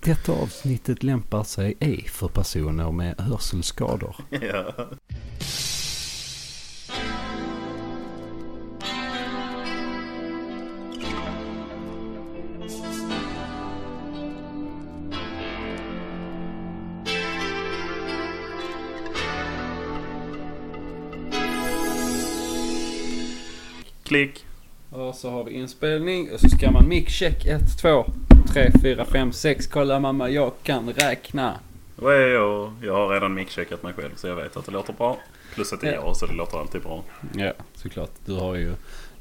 Detta avsnittet lämpar sig ej för personer med hörselskador. Ja. Klick. Och så har vi inspelning och så ska man mic-check 1, 2, 3, 4, 5, 6. Kolla mamma, jag kan räkna. Wow. Jag har redan mickcheckat mig själv så jag vet att det låter bra. Plus att det är Ja. jag så det låter alltid bra. Ja, såklart. Du har ju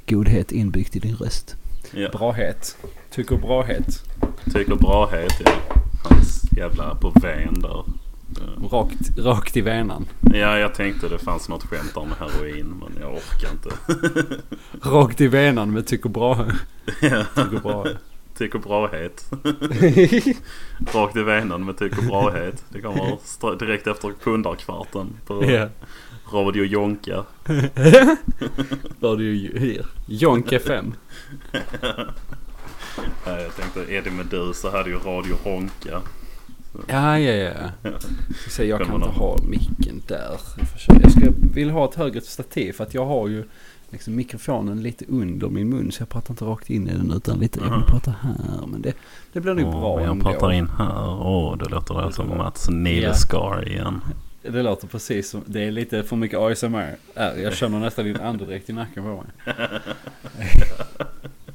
Godhet inbyggt i din röst. Ja. brahet. Tycker brahet. Tycker brahet ja. Hans jävla på vän där. Eh, Rakt, rakt i venan. Ja, jag tänkte det fanns något skämt där med heroin men jag orkar inte. Rakt i venan med tycker bra. Ja. Tycker bra. Tycker brahet. Rakt i venan med tycker brahet. Det kommer stra- direkt efter kundarkvarten på Ja. Radio Jonka. Var det ju Jonk FM. Nej, jag tänkte Eddie Meduza hade ju Radio Honka. Ja, ja, ja. Ska se, jag kan Kommer inte någon. ha micken där. Jag, försöker- jag ska, vill ha ett högre stativ för att jag har ju liksom mikrofonen lite under min mun så jag pratar inte rakt in i den utan lite, jag vill prata här. Men det, det blir nog bra jag ändå. pratar in här. Åh, då låter det som Mats Nilskar igen. Det låter precis som, det är lite för mycket ASMR. Äh, Jag känner nästan din andedräkt i nacken på mig.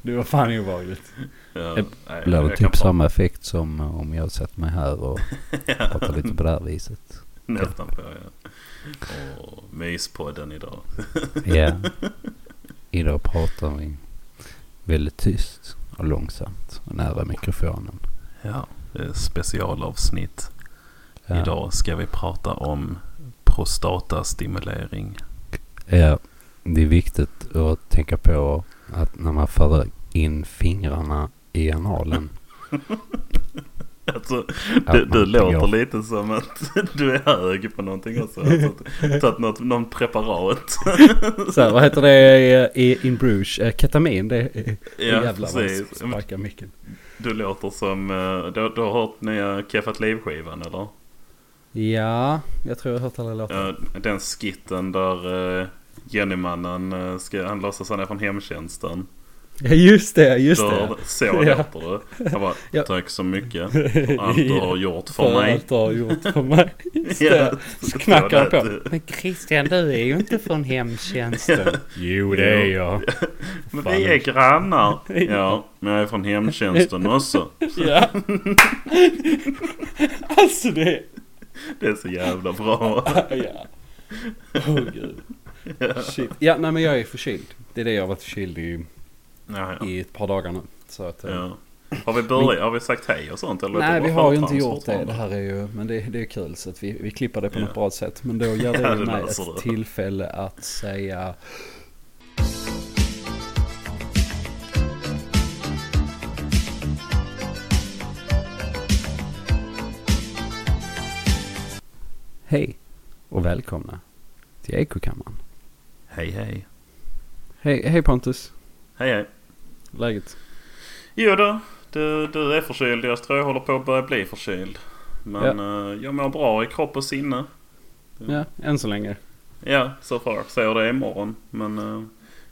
Det var fan obehagligt. Ja, Det nej, Blir jag det kan typ prata- samma effekt som om jag satt mig här och pratade lite på det här viset? Nästan på, ja. Åh, myspodden idag. Ja. Idag pratar vi väldigt tyst och långsamt och nära mikrofonen. Ja, det är ett specialavsnitt. Ja. Idag ska vi prata om prostatastimulering. Ja, det är viktigt att tänka på att när man för in fingrarna i analen. Alltså, att du, man du tänker- låter lite som att du är hög på någonting också. Alltså, att- tagit något, någon preparat. Så här, vad heter det i, i in Bruges? Eh, Ketamin, det är... Ja, jävlar vad jag precis. sparkar micken. Du låter som... eh, Du, du har hört nya Keffat Liv-skivan eller? Ja, jag tror jag har hört alla låtar. Ja, Eh, den skitten där eh, Jennymannen eh, ska... Han låtsas han är från hemtjänsten. Ja, just det, just det. Där, så Ja. låter det. Jag bara, Ja. tack så mycket för allt du Ja. har gjort för För mig. allt du har gjort för mig. Just det. Så knackar jag på. Men Christian, du är ju inte från hemtjänsten. Jo, det är jag. Men vi är grannar. Ja, men jag är från hemtjänsten också. Ja. Alltså det... Det är så jävla bra. Ja. Åh gud. Shit. Ja, nej men jag är förkyld. Det är det jag har varit förkyld i, Ja, ja. i ett par dagar nu. Så att, eh, Ja. Har vi börjat? Har vi sagt hej och sånt? Eller Nej, låter vi det bara har ju inte skönt gjort det. fortfarande? Det här är ju, men det, det är kul så att vi, vi klipper det på Ja. något bra sätt. Men då ger det Ja, ju det mig löser ett det. tillfälle att säga Hej och välkomna till Ekokammaren. Hej, hej. Hej, hej Pontus, Hej, hej. läget? Jo då, du, du är förkyld. Jag tror jag håller på att börja bli förkyld. Men eh, jag mår bra i kropp och sinne. Ja, än så länge. Ja, så far. Säger det imorgon. Men eh,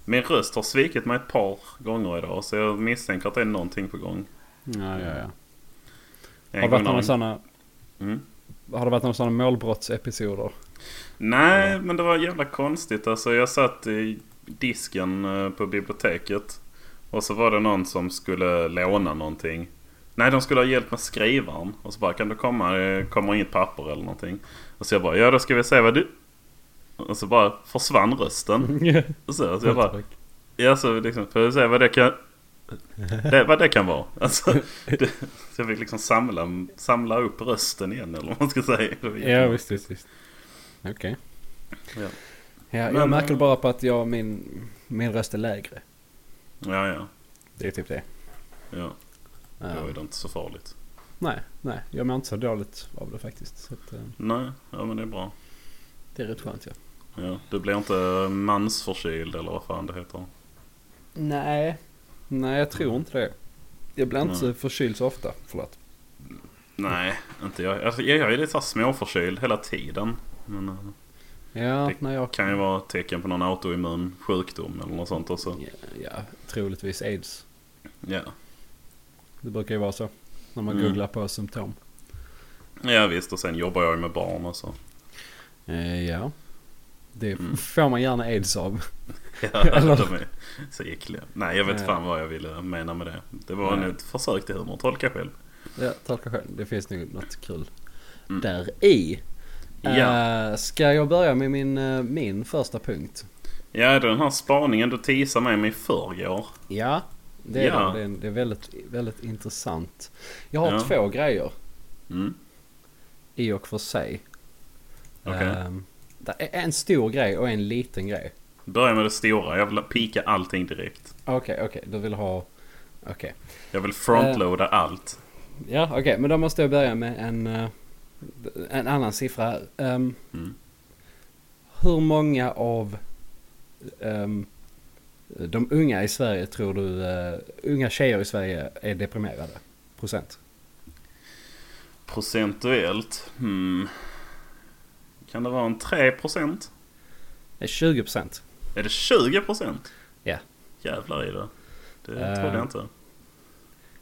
min röst har svikit mig ett par gånger idag. Så jag misstänker att det är någonting på gång. Ja, ja, ja. Har det En gång varit några när- sådana, Mm. har det varit några sådana målbrottsepisoder? Nej, men det var jävla konstigt. Alltså, jag satt i disken eh, på biblioteket. Och så var det någon som skulle låna någonting. Nej, de skulle ha hjälp med skrivaren. Och så bara, kan du komma? Det kommer inget papper eller någonting. Och så jag bara, ja då ska vi se vad du... Och så bara försvann rösten. Och så, så Alltså, jag bara, ja så liksom, får vi se vad det kan... Det, vad det kan vara. Alltså, det, så jag fick liksom samla, samla upp rösten igen eller vad man ska säga. Det var Ja, visst, visst, visst. Okej. Ja. Ja, jag Men, märker eh, bara på att jag, min, min röst är lägre. Ja, ja. Det är typ det. ja. Ja. Då är det inte så farligt. Nej, nej, jag mår inte så dåligt av det faktiskt. Så att, eh, Nej, ja men det är bra. det är rätt skönt ja. Ja, du blir inte mansförkyld eller vad fan det heter. Nej. Nej, jag tror inte det. Jag blir inte Nej. förkyld så ofta, förlåt. Nej, inte jag. Alltså, jag jag är lite så här småförkyld hela tiden. Men eh, Ja, Det när jag... kan ju vara ett tecken på någon autoimmun sjukdom eller något sånt också. Ja, ja, troligtvis aids. Ja, Det brukar ju vara så. När man Mm. googlar på symptom. ja visst. Och sen jobbar jag ju med barn och så. Eh, ja. Det Mm. får man gärna aids av. Ja, Eller- de är så äckliga. Nej, jag vet Ja. fan vad jag ville mena med det. Det var Nej. nog ett försök till humor. Tolka själv. Ja, tolka själv. Det finns nog något kul Mm. där i. Ja. Eh, ska jag börja med min, eh, min första punkt? ja, den här spaningen du teasade med mig i förrgår. Ja, det är, Ja. det. Det, är en, det är väldigt, väldigt intressant. Jag har Ja. två grejer Mm. i och för sig. Okej. Ehm, det är en stor grej och en liten grej. Börja med det stora. Jag vill pika allting direkt. Okej, okej. Du vill ha... Okej. Jag vill frontloada allt. Ja, okej. men då måste jag börja med en, eh, en annan siffra här. Ehm, Mm. Hur många av ehm, de unga i Sverige tror du, eh, unga tjejer i Sverige är deprimerade? Procent? Procentuellt. Hmm. Kan det vara en 3 procent? Eh, 20 procent. Är det 20 procent? Ja. Jävlar i det. Det Eh. trodde jag inte.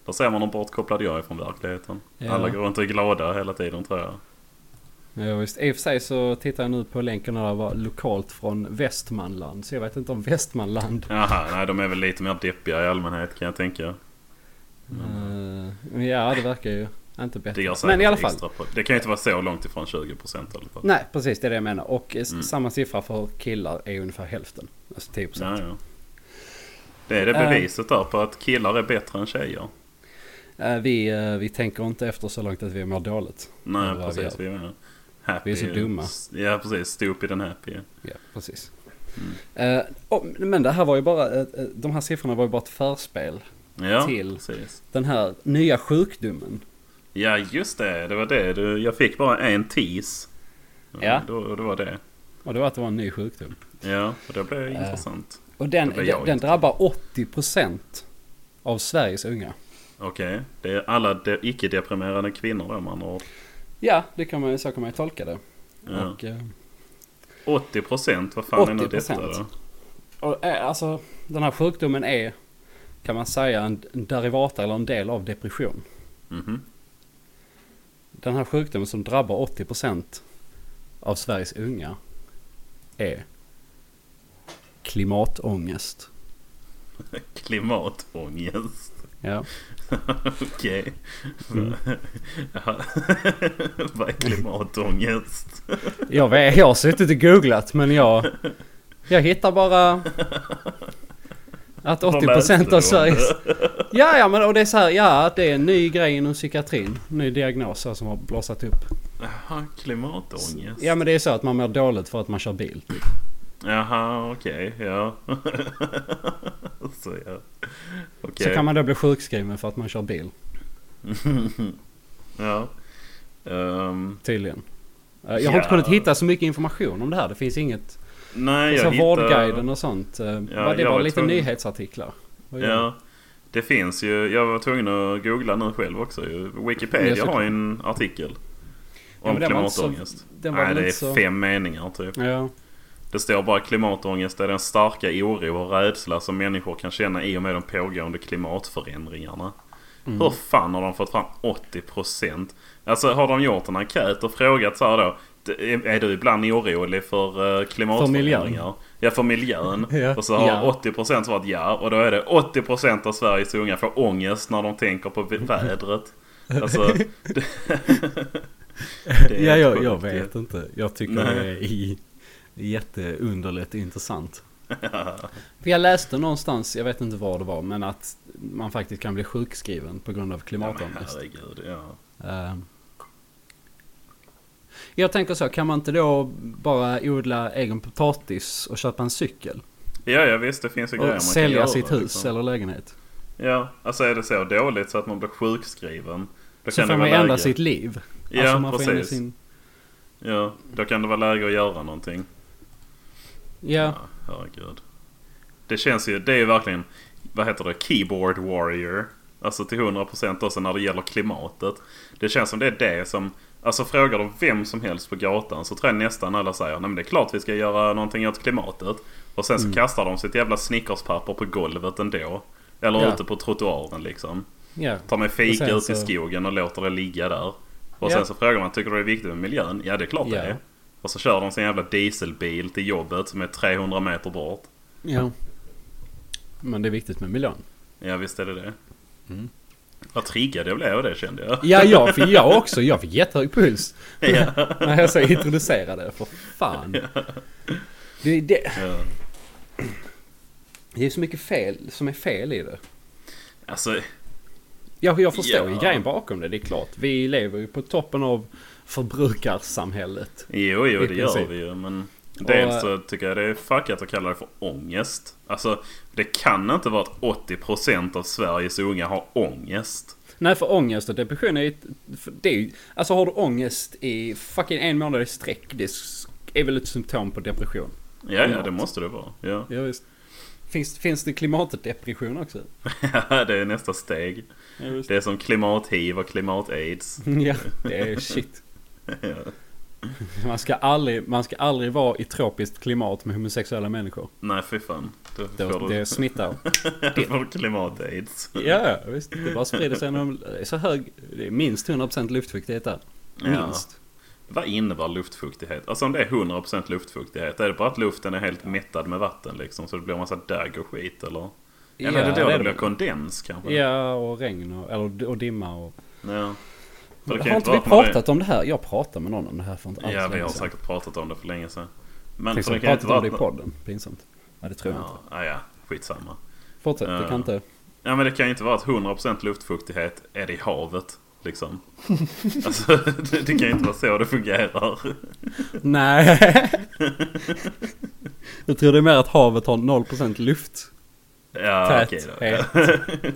Där ser man hur bortkopplad jag är från verkligheten. Ja. Alla går inte glada hela tiden tror jag. Ja, visst. I och för sig så tittar jag nu på länken där det var lokalt från Västmanland. Så jag vet inte om Västmanland. Jaha, nej de är väl lite mer deppiga i allmänhet kan jag tänka. Eh, ja, det verkar ju inte Mm. Det bättre. gör säkert Men i alla fall. extra på. Det kan ju inte vara så långt ifrån 20% i alla fall. Nej, precis det är det jag menar. Och eh, s- Mm. samma siffra för killar är ungefär hälften. Alltså 10 procent. Ja, ja. Det är det Eh. beviset där på att killar är bättre än tjejer. Eh, Vi, eh, vi tänker inte efter så långt att vi mår dåligt. Nej, Eller vad vi precis. Vi är, Vi happy. är så dumma. Ja, precis. Stupid and happy. Ja, precis. Mm. Eh, och- men det här var ju bara, eh, eh, de här siffrorna var ju bara ett förspel. Ja, Till. precis. Den här nya sjukdomen. Ja, just det. Det var det. Du, jag fick bara en tease. Ja. Då, det var det. Och det var att det var en ny sjukdom. Ja, och det blev Eh. intressant. Och den, Det blir jag den, den inte. drabbar 80% av Sveriges unga. Okej. Det är alla de, icke-deprimerade kvinnor då, man har. Ja, det kan man, ju- så kan man ju tolka det. Ja. Och, eh, 80 procent? Vad fan är nu detta 80%? då? och, eh, alltså, den här sjukdomen är, kan man säga, en en derivat eller en del av depression. Mhm. Den här sjukdomen som drabbar 80% av Sveriges unga är klimatångest. Klimatångest. Ja. Okej. Jaha. Vad är klimatångest? Jag, vet, jag har suttit och googlat men jag, jag hittar bara att Vad läste 80% du av om Sveriges... Ja, ja men och det är så här, ja det är en ny grej inom psykiatrin. Ny diagnos så, som har blossat upp. Jaha, klimatångest. Ja men det är så att man mår dåligt för att man kör bil. Jaha, okej. ja. Så ja. Okej. Så kan man då bli sjukskriven för att man kör bil ja. Ehm, tydligen. Eh, Jag har Ja. inte kunnat hitta så mycket information om det här. Det finns inget nej, Och så jag Vårdguiden hittade... och sånt. eh, Ja, var det jag var var lite tvungen- nyhetsartiklar? Vad gör Ja. Det finns ju... Jag var tvungen att googla nu själv också. ju. Ja, Wikipedia såklart. har ju en artikel. Ja, men Om den var inte så- klimatångest. den var Nej, väl det är inte så- fem meningar typ. du? Ja. Det står bara klimatångest är den starka oro och rädsla som människor kan känna i och med de pågående klimatförändringarna. Mm. Hur fan har de fått fram 80%? Alltså har de gjort en enkät och frågat så här då. "D- Är du ibland orolig för eh, klimatförändringar? För miljön. Ja, för miljön. Ja. Och så har Ja. 80% svarat ja. Och då är det 80% av Sveriges unga får ångest när de tänker på vä- vädret. Alltså, det, det är ja, jag, jag sjukt, vet inte. Jag tycker Nej. det är i- jätteunderligt och intressant. För jag läste någonstans, jag vet inte var det var, men att man faktiskt kan bli sjukskriven på grund av Ja, men klimatångest. herregud, ja. Eh, jag tänker så, kan man inte då bara odla egen potatis och köpa en cykel? Ja, ja visst. Det finns ju grejer man Och kan sälja göra, sitt hus liksom. eller lägenhet? Ja, alltså är det så dåligt så att man blir sjukskriven. Då Så kan får det man vara ändra läge. sitt liv. Ja, alltså man får ändra precis. sin... Ja, då kan det vara läge att göra någonting. Ja, herregud. Det känns ju, det är ju verkligen, vad heter det, keyboard warrior. Alltså till 100% också när det gäller klimatet. Det känns som det är det som... Alltså frågar du vem som helst på gatan så tror jag nästan alla säger Nej men det är klart vi ska göra någonting åt klimatet. Och sen så Mm. kastar de sitt jävla snickerspapper på golvet ändå. Eller Ja. ute på trottoaren liksom. Ja. Tar med fika Och sen ut i så- skogen och låter det ligga där. Ja. Och sen så frågar man tycker du det är viktigt med miljön? Ja det är klart Ja. det är. Och så kör de sin jävla dieselbil till jobbet som är 300 meter bort. Ja. Men det är viktigt med miljön. Ja visst är det det. Mm. Vad triggad jag blev av det kände jag. Ja, jag, fick, jag också. Jag fick jättehög puls. Ja. När jag så introducerade det. För fan. Det, är det, Ja. det är så mycket fel som är fel i det. Alltså, Jag, jag förstår Ja. ju grejen bakom det. Det är klart. Vi lever ju på toppen av förbrukarsamhället. jo jo I det gör princip. vi ju men dels Och- så tycker jag det är fuckat att kalla det för ångest. Alltså det kan inte vara att 80% av Sveriges unga har ångest. Nej, för ångest och depression är ju... ett- för Det är ju alltså har du ångest i fucking en månad i sträck. Det är väl ett symptom på depression. Ja ja Klimat. det måste det vara. Ja. Ja, visst. Finns, finns det klimatdepression också? det är nästa steg. Ja, visst. Det är som klimat-hiv och klimat-aids. Ja, det är shit. Ja. Man ska aldrig, man ska aldrig vara i tropiskt klimat med homosexuella människor. Nej fy fan. Då Det, får du, det smittar. då får du klimat-aids. Ja, visst. Det bara sprider sig. Genom, det är så hög, det är minst 100% luftfuktighet där. Ja. Minst. Vad innebär luftfuktighet? Alltså om det är 100% luftfuktighet, är det bara att luften är helt mättad med vatten liksom? Så det blir en massa dagg och skit eller? eller är det då det, blir kondens kanske? Ja, och regn och, eller, och dimma och... Ja. För det kan ju Har inte vara vi att man är- pratat om det här? Jag pratade med någon om det här för inte alls Ja, vi har länge sedan. säkert pratat om det för länge sedan. Men Tänk för om det vi kan ju inte pratat om vara... det i att- podden. Pinsamt. Nej, det tror jag inte. Ja, ah, ja, ja, skitsamma. Fortsätt, Ja. det kan inte... Ja, men det kan ju inte vara att 100% luftfuktighet är det i havet. Liksom. Alltså, det, det kan ju inte vara så det fungerar. Nej. jag tror det är mer att havet har 0% luft. Ja, Tät, okej het.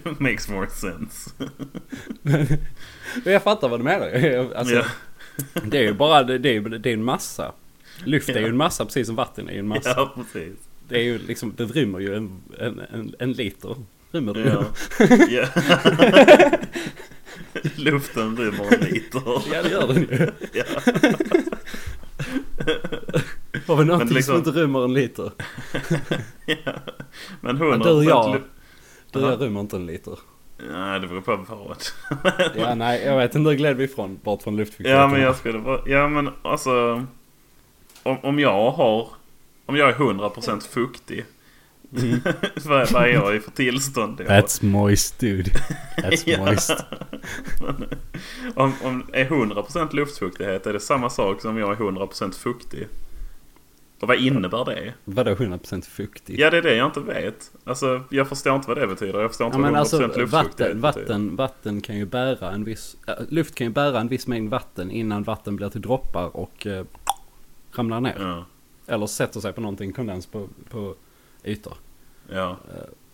då. Makes more sense. Jag fattar vad du menar. Jag- Alltså, ja, Det är ju bara, det det är ju det är en massa. Luft är Ja. ju en massa precis som vatten är ju en massa. ja, precis. Det är ju liksom, det rymmer ju en, en, en, en liter. Rymmer det? Ja. Ja. ja. Luften rymmer en liter. det gör den ju. Ja. Har vi någonting liksom- som inte rymmer en liter? Ja. Men Men 100% du och jag, luft... du Aha. och jag rymmer inte en liter. Nej, det beror på vad. Ja, nej, jag vet inte, nu gled vi ifrån, bort från luftfuktigheten. Ja men jag skulle bara, ja men alltså om, om jag har, om jag är 100% fuktig. vad, vad är jag i för tillstånd då? Mm. That's moist dude. That's Ja. moist. Men, om, om är 100% luftfuktighet, är det samma sak som om jag är 100% fuktig? Och vad innebär det? Vadå 100% fuktig? Ja det är det jag inte vet. Alltså jag förstår inte vad det betyder. Jag förstår Ja, inte men vad 100% alltså luftfuktighet typ. vatten, betyder. vatten, vatten kan ju bära en viss, äh, luft kan ju bära en viss mängd vatten innan vatten blir till droppar och äh, ramlar ner. Ja, Eller sätter sig på någonting, kondens på, på ytor. ja,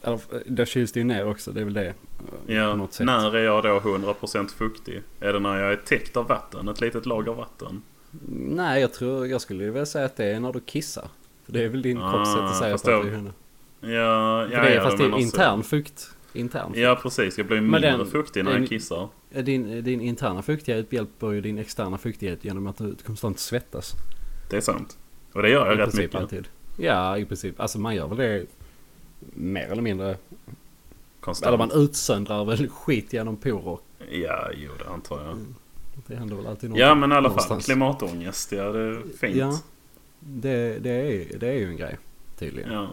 Eller, eh, då kyls det ju ner också, det är väl det. eh, På ja. något sätt. När är jag då 100% fuktig? Är det när jag är täckt av vatten? Ett litet lager vatten? Nej, jag tror, jag skulle vilja säga att det är när du kissar. För det är väl din Ah, kropp sätt att säga fast på att då- du är henne. Ja, För ja, det är, ja, fast det men är alltså- intern fukt. Intern. fukt. Ja, precis. Jag blir Men mindre den- fuktig när den- jag kissar. Din, din interna fuktighet hjälper ju din externa fuktighet genom att du konstant svettas. Det är sant. Och det gör jag I rätt princip mycket. alltid. Ja, i princip. Alltså man gör väl det mer eller mindre. Konstant. Eller man utsöndrar väl skit genom porer. Ja, jo, det antar jag. Det händer väl alltid Ja, men i alla fall. Mm, någonstans. Klimatångest. Ja, det är fint. Ja, det, det, är, det är ju en grej tydligen. ja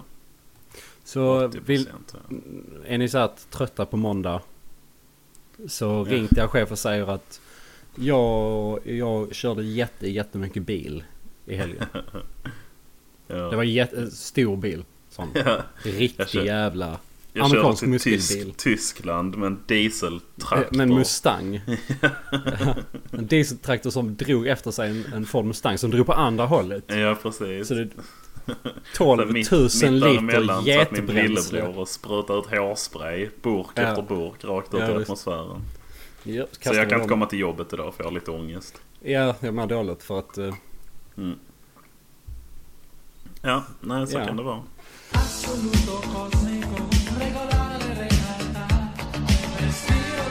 Så 80%, vill, ja. typ är ni så här trötta på måndag så Ja. ring till er chef och säger att jag, jag körde jätte, jättemycket bil i helgen. Ja. Det var en jätte, stor bil. Sån Ja. Jag riktig kör- jävla. Jag körde Amerikansk till muskelbil. Eh, tysk, Tyskland med en dieseltraktor. Men Mustang. Ja, en dieseltraktor som drog efter sig en, en Ford Mustang som drog på andra hållet. Ja, precis. Så det Så 12 000 mitt- mitt däremellan liter satt min jetbränsle. brillebror och sprutade ut hårspray, burk Ja. efter burk, rakt ut Ja, i visst. atmosfären. Ja, Så jag kan kastade inte dem. komma till jobbet idag för jag har lite ångest. Ja, jag mår dåligt för att... eh, Ja, nej så Ja. kan det vara. Assoluto, cosmico, regolare, realtà. Vestito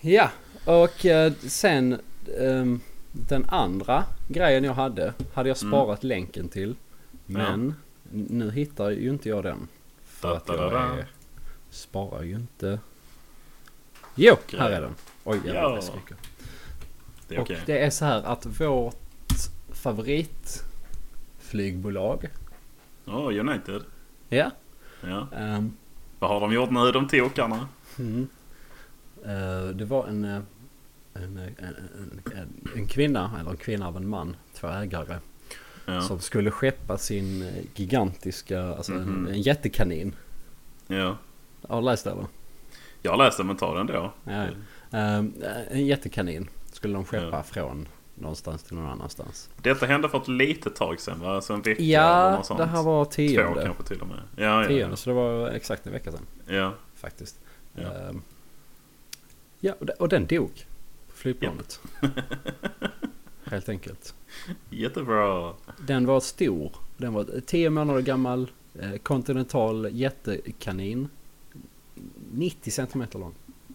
Ja, och eh, sen ehm, den andra grejen jag hade, hade jag Mm. sparat länken till. Men nu hittar ju inte jag den. För att jag Da-da-da-da. är, sparar ju inte. Jo, här Grej. är den. Oj, jävlar Ja. vad jag skriker. Det är Och okej. det är så här att vårt favoritflygbolag. Åh, United. Ja. Ja. ehm, Vad har de gjort nu, de tokarna? Mm. Eh, det var en, eh, en, eh, en, en, en kvinna, eller en kvinna av en man, två ägare, Ja. som skulle skeppa sin eh, gigantiska, alltså en, Mhm. en jättekanin. ja. Har du läst det eller? Jag läste men ta den då. Ja. Eh, Mm. en jättekanin skulle de skeppa från någonstans till någon annanstans. Detta hände för ett litet tag sedan va? Alltså en vecka eller Ja, något sånt. det här var Två tionde. kanske till och med. Ja, ja. Tionde, så det var exakt en vecka sedan Ja, faktiskt. Ja. Eh, ja, och de- och den dog på flygplanet. Helt enkelt. jättebra. Den var stor. Den var 10 månader gammal. eh, Kontinental jättekanin. 90 centimeter lång.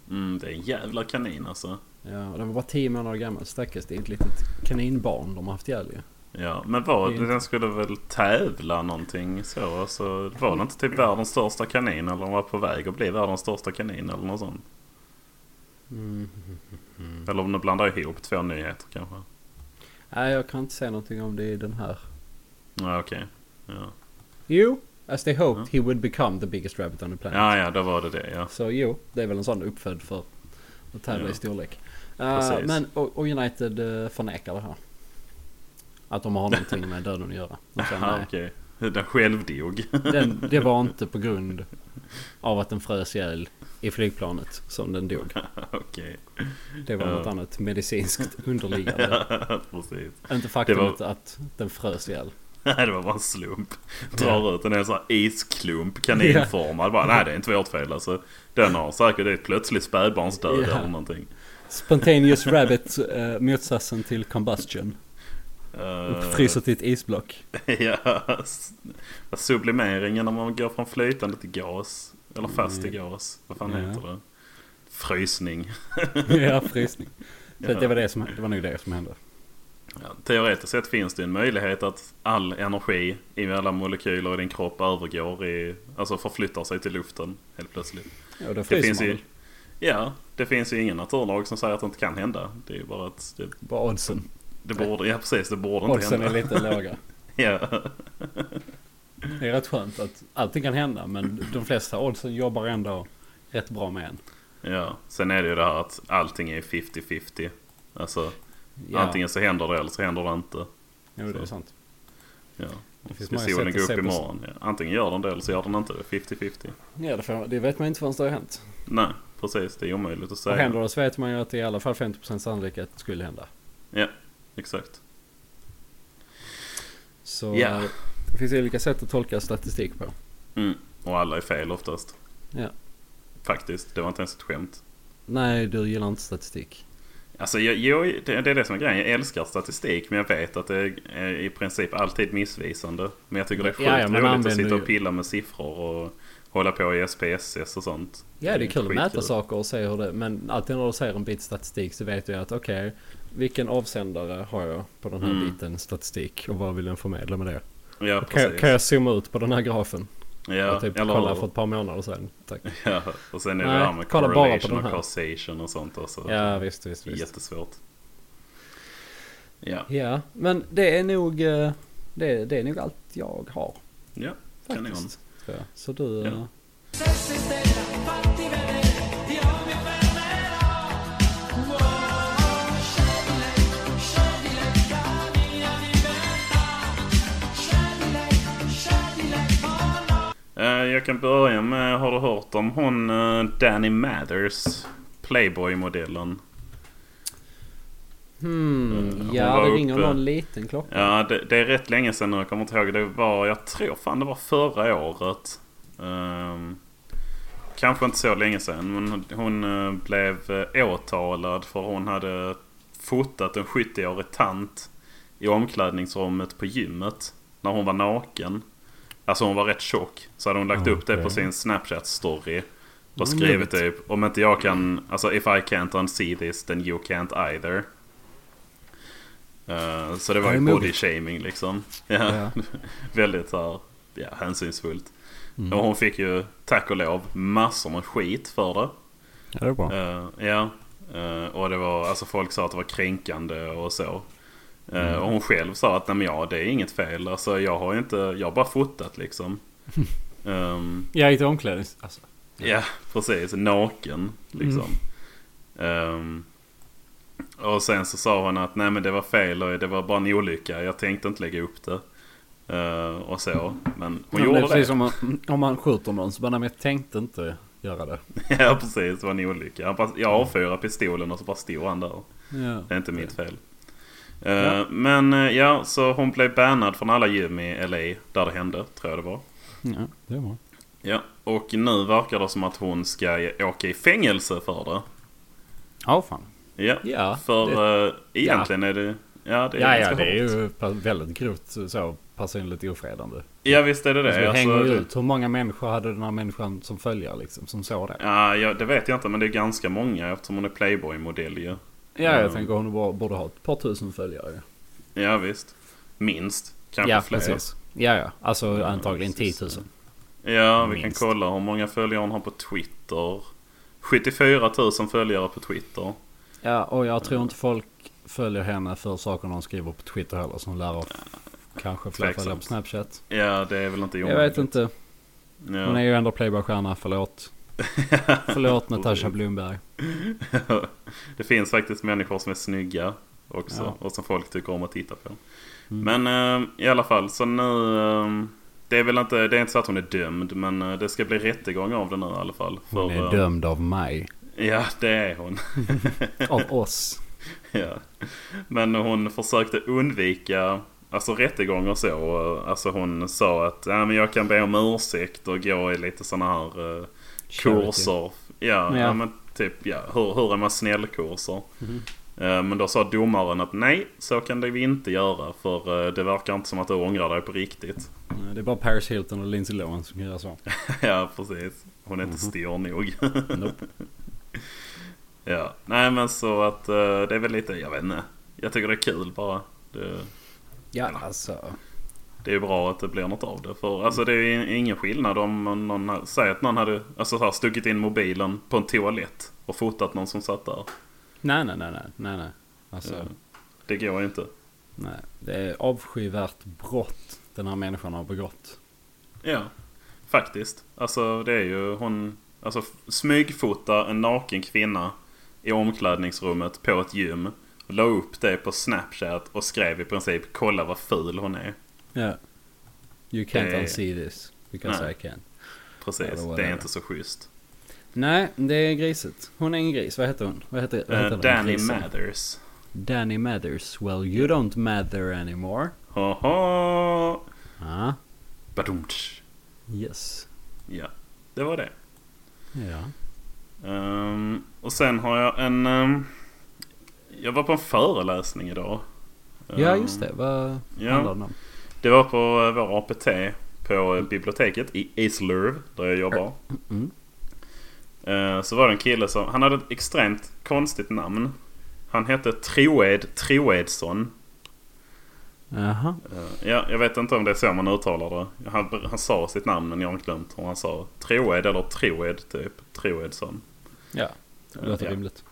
Mm, det är en jävla kanin alltså. Ja, och den var bara 10 månader gammal. Stackars, det är ett litet kaninbarn de har haft ihjäl ju. Ja, men var Det är inte- den skulle väl tävla någonting så? Alltså, var det inte typ världens största kanin eller var på väg att bli världens största kanin eller något sånt? Mm. Eller om du blandar ihop två nyheter kanske? Nej, jag kan inte säga någonting om det i den här. Ja, okej. Ja. Jo, as they hoped he would become the biggest rabbit on the planet. ja, ja, då var det det ja. Så jo, det är väl en sån uppfödd för att tävla i Ja. storlek. Precis. Eh, men och, och United eh, förnekar det här. Att de har någonting med döden att göra. De säger, Aha, nej, okej. Den självdog. Den, det var inte på grund av att den frös ihjäl i flygplanet som den dog. okej. Det var Ja. något annat medicinskt underliggande. Precis. Inte faktumet Det att den frös ihjäl. Nej, det var bara en slump. Drar ut en hel sån här isklump, kaninformad. Bara, nej, det är inte vårt fel alltså. Den har säkert det är ett plötsligt spädbarnsdöd Ja. eller någonting. Spontaneous rabbit, eh, motsatsen till combustion. Uh, Fryser till ett isblock. ja, s- sublimeringen när man går från flytande till gas. Eller fast till gas. Vad fan Mm. Ja. heter det? Frysning. ja, frysning. Så Ja. det, var det, som, det var nog det som hände. Ja, teoretiskt sett finns det en möjlighet att all energi i alla molekyler i din kropp övergår i, alltså förflyttar sig till luften helt plötsligt. Och då Det fryser finns man ju, ju... ja, det finns ju ingen naturlag som säger att det inte kan hända. Det är ju bara att det, Bara oddsen. det borde, ja precis, det borde inte Oddsen är hända. lite låga. Ja, Det är rätt skönt att allting kan hända men de flesta oddsen jobbar ändå rätt bra med en. ja. Sen är det ju det här att allting är 50-50. Alltså, Ja, antingen så händer det eller så händer det inte. jo, det är så. sant. Ja. Det finns Ska många sätt solen att gå upp se på- imorgon? Ja. Antingen gör den det eller så gör den inte det. 50-50. Ja, det, får, det vet man inte förrän det har hänt. Nej, precis. Det är omöjligt att Och säga. händer det så vet man ju att det är i alla fall 50% sannolikhet att det skulle hända. Ja, exakt. Så Ja. eh, det finns olika sätt att tolka statistik på. Mm. Och alla är fel oftast. Ja. Faktiskt, det var inte ens ett skämt. Nej, du gillar inte statistik. Alltså jag, jag, det, det är det som är grejen. Jag älskar statistik men jag vet att det är i princip alltid missvisande. Men jag tycker det är sjukt Ja, ja, men roligt använder att sitta ju- och pilla med siffror och hålla på i SPSS och sånt. Ja, det är kul att mäta skitkul. saker och se hur det... Men alltid när du ser en bit statistik så vet du ju att okej, vilken avsändare har jag på den här Mm. biten statistik och vad vill den förmedla med det? Ja, Kan, jag- precis. kan jag zooma ut på den här grafen? ja, och typ eller kolla hur? för ett par månader sedan. Tack. Ja, och sen är Nej, det här med kolla bara på correlation den och här. causation och sånt också. Ja, visst, visst, visst. Jättesvårt. Ja, Ja, men det är nog... eh, Det, det är nog allt jag har. ja kanon. Faktiskt. tror jag. Så du... Ja. eh, Eh, Jag kan börja med, har du hört om hon eh, Danny Mathers? Playboy-modellen. Hmm, Eh, hon ja var det ringer uppe. någon liten klocka. Ja, det, det är rätt länge sedan nu. Jag kommer inte ihåg. Det var, jag tror fan det var förra året. Ehm, kanske inte så länge sedan. Men hon eh, blev eh, åtalad för hon hade fotat en 70-årig tant i omklädningsrummet på gymmet. När hon var naken. Alltså hon var rätt tjock. Så hade hon lagt upp det på Okej. sin Snapchat-story. Och Ja, skrivit möjligt. typ om inte jag kan, alltså if I can't unsee this then you can't either. Eh, så det var Ja, ju det är body modigt. shaming liksom. Ja, Ja. väldigt så här, ja, hänsynsfullt. Och hon fick ju tack och lov massor med skit för det. Ja, det är bra. Eh, ja, Eh, och det var, alltså folk sa att det var kränkande och så. Eh, Och hon själv sa att nej men ja, det är inget fel. Alltså jag har ju inte, jag har bara fotat liksom. Ehm, Jag gick till omklädnings... Alltså. Ja, precis. Naken, liksom. Ehm, och sen så sa hon att nej men det var fel och det var bara en olycka. Jag tänkte inte lägga upp det. Eh, och så. Men hon Men det är gjorde det. precis som man, om man skjuter någon så bara, nej, men jag tänkte inte göra det. ja, precis. Det var en olycka. Han bara, jag avfyrade pistolen och så bara stod han där. Ja. Det är inte mitt fel. Eh, Men eh, ja, så hon blev bannad från alla gym i LA där det hände, tror jag det var. Ja, det är bra. Ja, och nu verkar det som att hon ska åka i fängelse för det. Ja, fan. Ja, Ja, för det- eh, egentligen är det... Ja, det är Ja, ja, ganska det är hårt. ju pa- väldigt grovt så personligt ofredande. Ja, visst är det Det det. hänger ju Alltså, ut. Hur många människor hade den här människan som följare liksom, som såg det? ja, ja, det vet jag inte, men det är ganska många eftersom hon är Playboy-modell ju. Ja, jag Mm. tänker hon bara borde ha ett par tusen följare. Ja, visst. Minst. Kanske ja, fler. precis. Ja, ja. Alltså antagligen precis. 10 000. Ja, vi Minst. kan kolla hur många följare hon har på Twitter. 74 000 följare på Twitter. Ja, och jag tror inte folk följer henne för saker hon skriver på Twitter heller. Som lär av kanske fler Tveksamt. följare på Snapchat. Ja, det är väl inte Jag vet inte. Ja. Hon är ju ändå Playboy-stjärna. Förlåt. Förlåt Natasha Blomberg. det finns faktiskt människor som är snygga också Ja. Mm. och som folk tycker om att titta på. Men eh, i alla fall, så nu... eh, det är väl inte, det är inte så att hon är dömd, men eh, det ska bli rättegång av det nu i alla fall. Hon För, är eh, dömd av mig. Ja, det är hon. Av oss. ja. Men hon försökte undvika alltså, rättegång och så. Och, Alltså hon sa att ja, men jag kan be om ursäkt och gå i lite sådana här eh, Charity. kurser. Ja, ja. Ja. men typ ja, hur, hur är man snäll-kurser. Mhm. Eh, Men då sa domaren att nej, så kan det vi inte göra för eh, det verkar inte som att du ångrar dig på riktigt. Det är bara Paris Hilton och Lindsay Lohan som kan göra så. ja, precis. Hon är inte styr nog. Nope. ja, nej men så att eh, det är väl lite, jag vet inte. Jag tycker det är kul bara. Det, Ja, alltså. det är bra att det blir något av det. För alltså det är ju ingen skillnad om någon ha- säger att någon hade alltså, så här, stuckit in mobilen på en toalett och fotat någon som satt där. Nej, nej, nej, nej, nej, nej. Alltså, Ja. Det går ju inte. nej. Det är avskyvärt brott den här människan har begått. Ja, faktiskt. Alltså det är ju hon... Alltså f- smygfota en naken kvinna i omklädningsrummet på ett gym. La upp det på Snapchat och skrev i princip kolla vad ful hon är. Ja. You can't Det är- unsee this. Because Nej. I can. Precis, Ja, det var det är det. inte så schysst. Nej, det är grisigt. Hon är en gris. Vad heter hon? Vad heter, vad Eh, heter den Danny grisen? Mathers. Danny Mathers. Well, you don't matter anymore. Haha! Ah, Badumtsch. yes. Ja, det var det. Ja. Ehm, och sen har jag en... ehm, jag var på en föreläsning idag. Ja, Ehm, just det. Vad ja. handlar den om? Det var på eh, vår APT på eh, biblioteket i Eslöv där jag jobbar. Mm. Eh, Så var det en kille som, han hade ett extremt konstigt namn. Han hette Troed Troedsson. Jaha. Eh, Ja, jag vet inte om det är så man uttalar det. Han, han sa sitt namn men jag har glömt hur han sa. Troed eller Troed typ. Troedsson. Ja, det låter Ja. rimligt.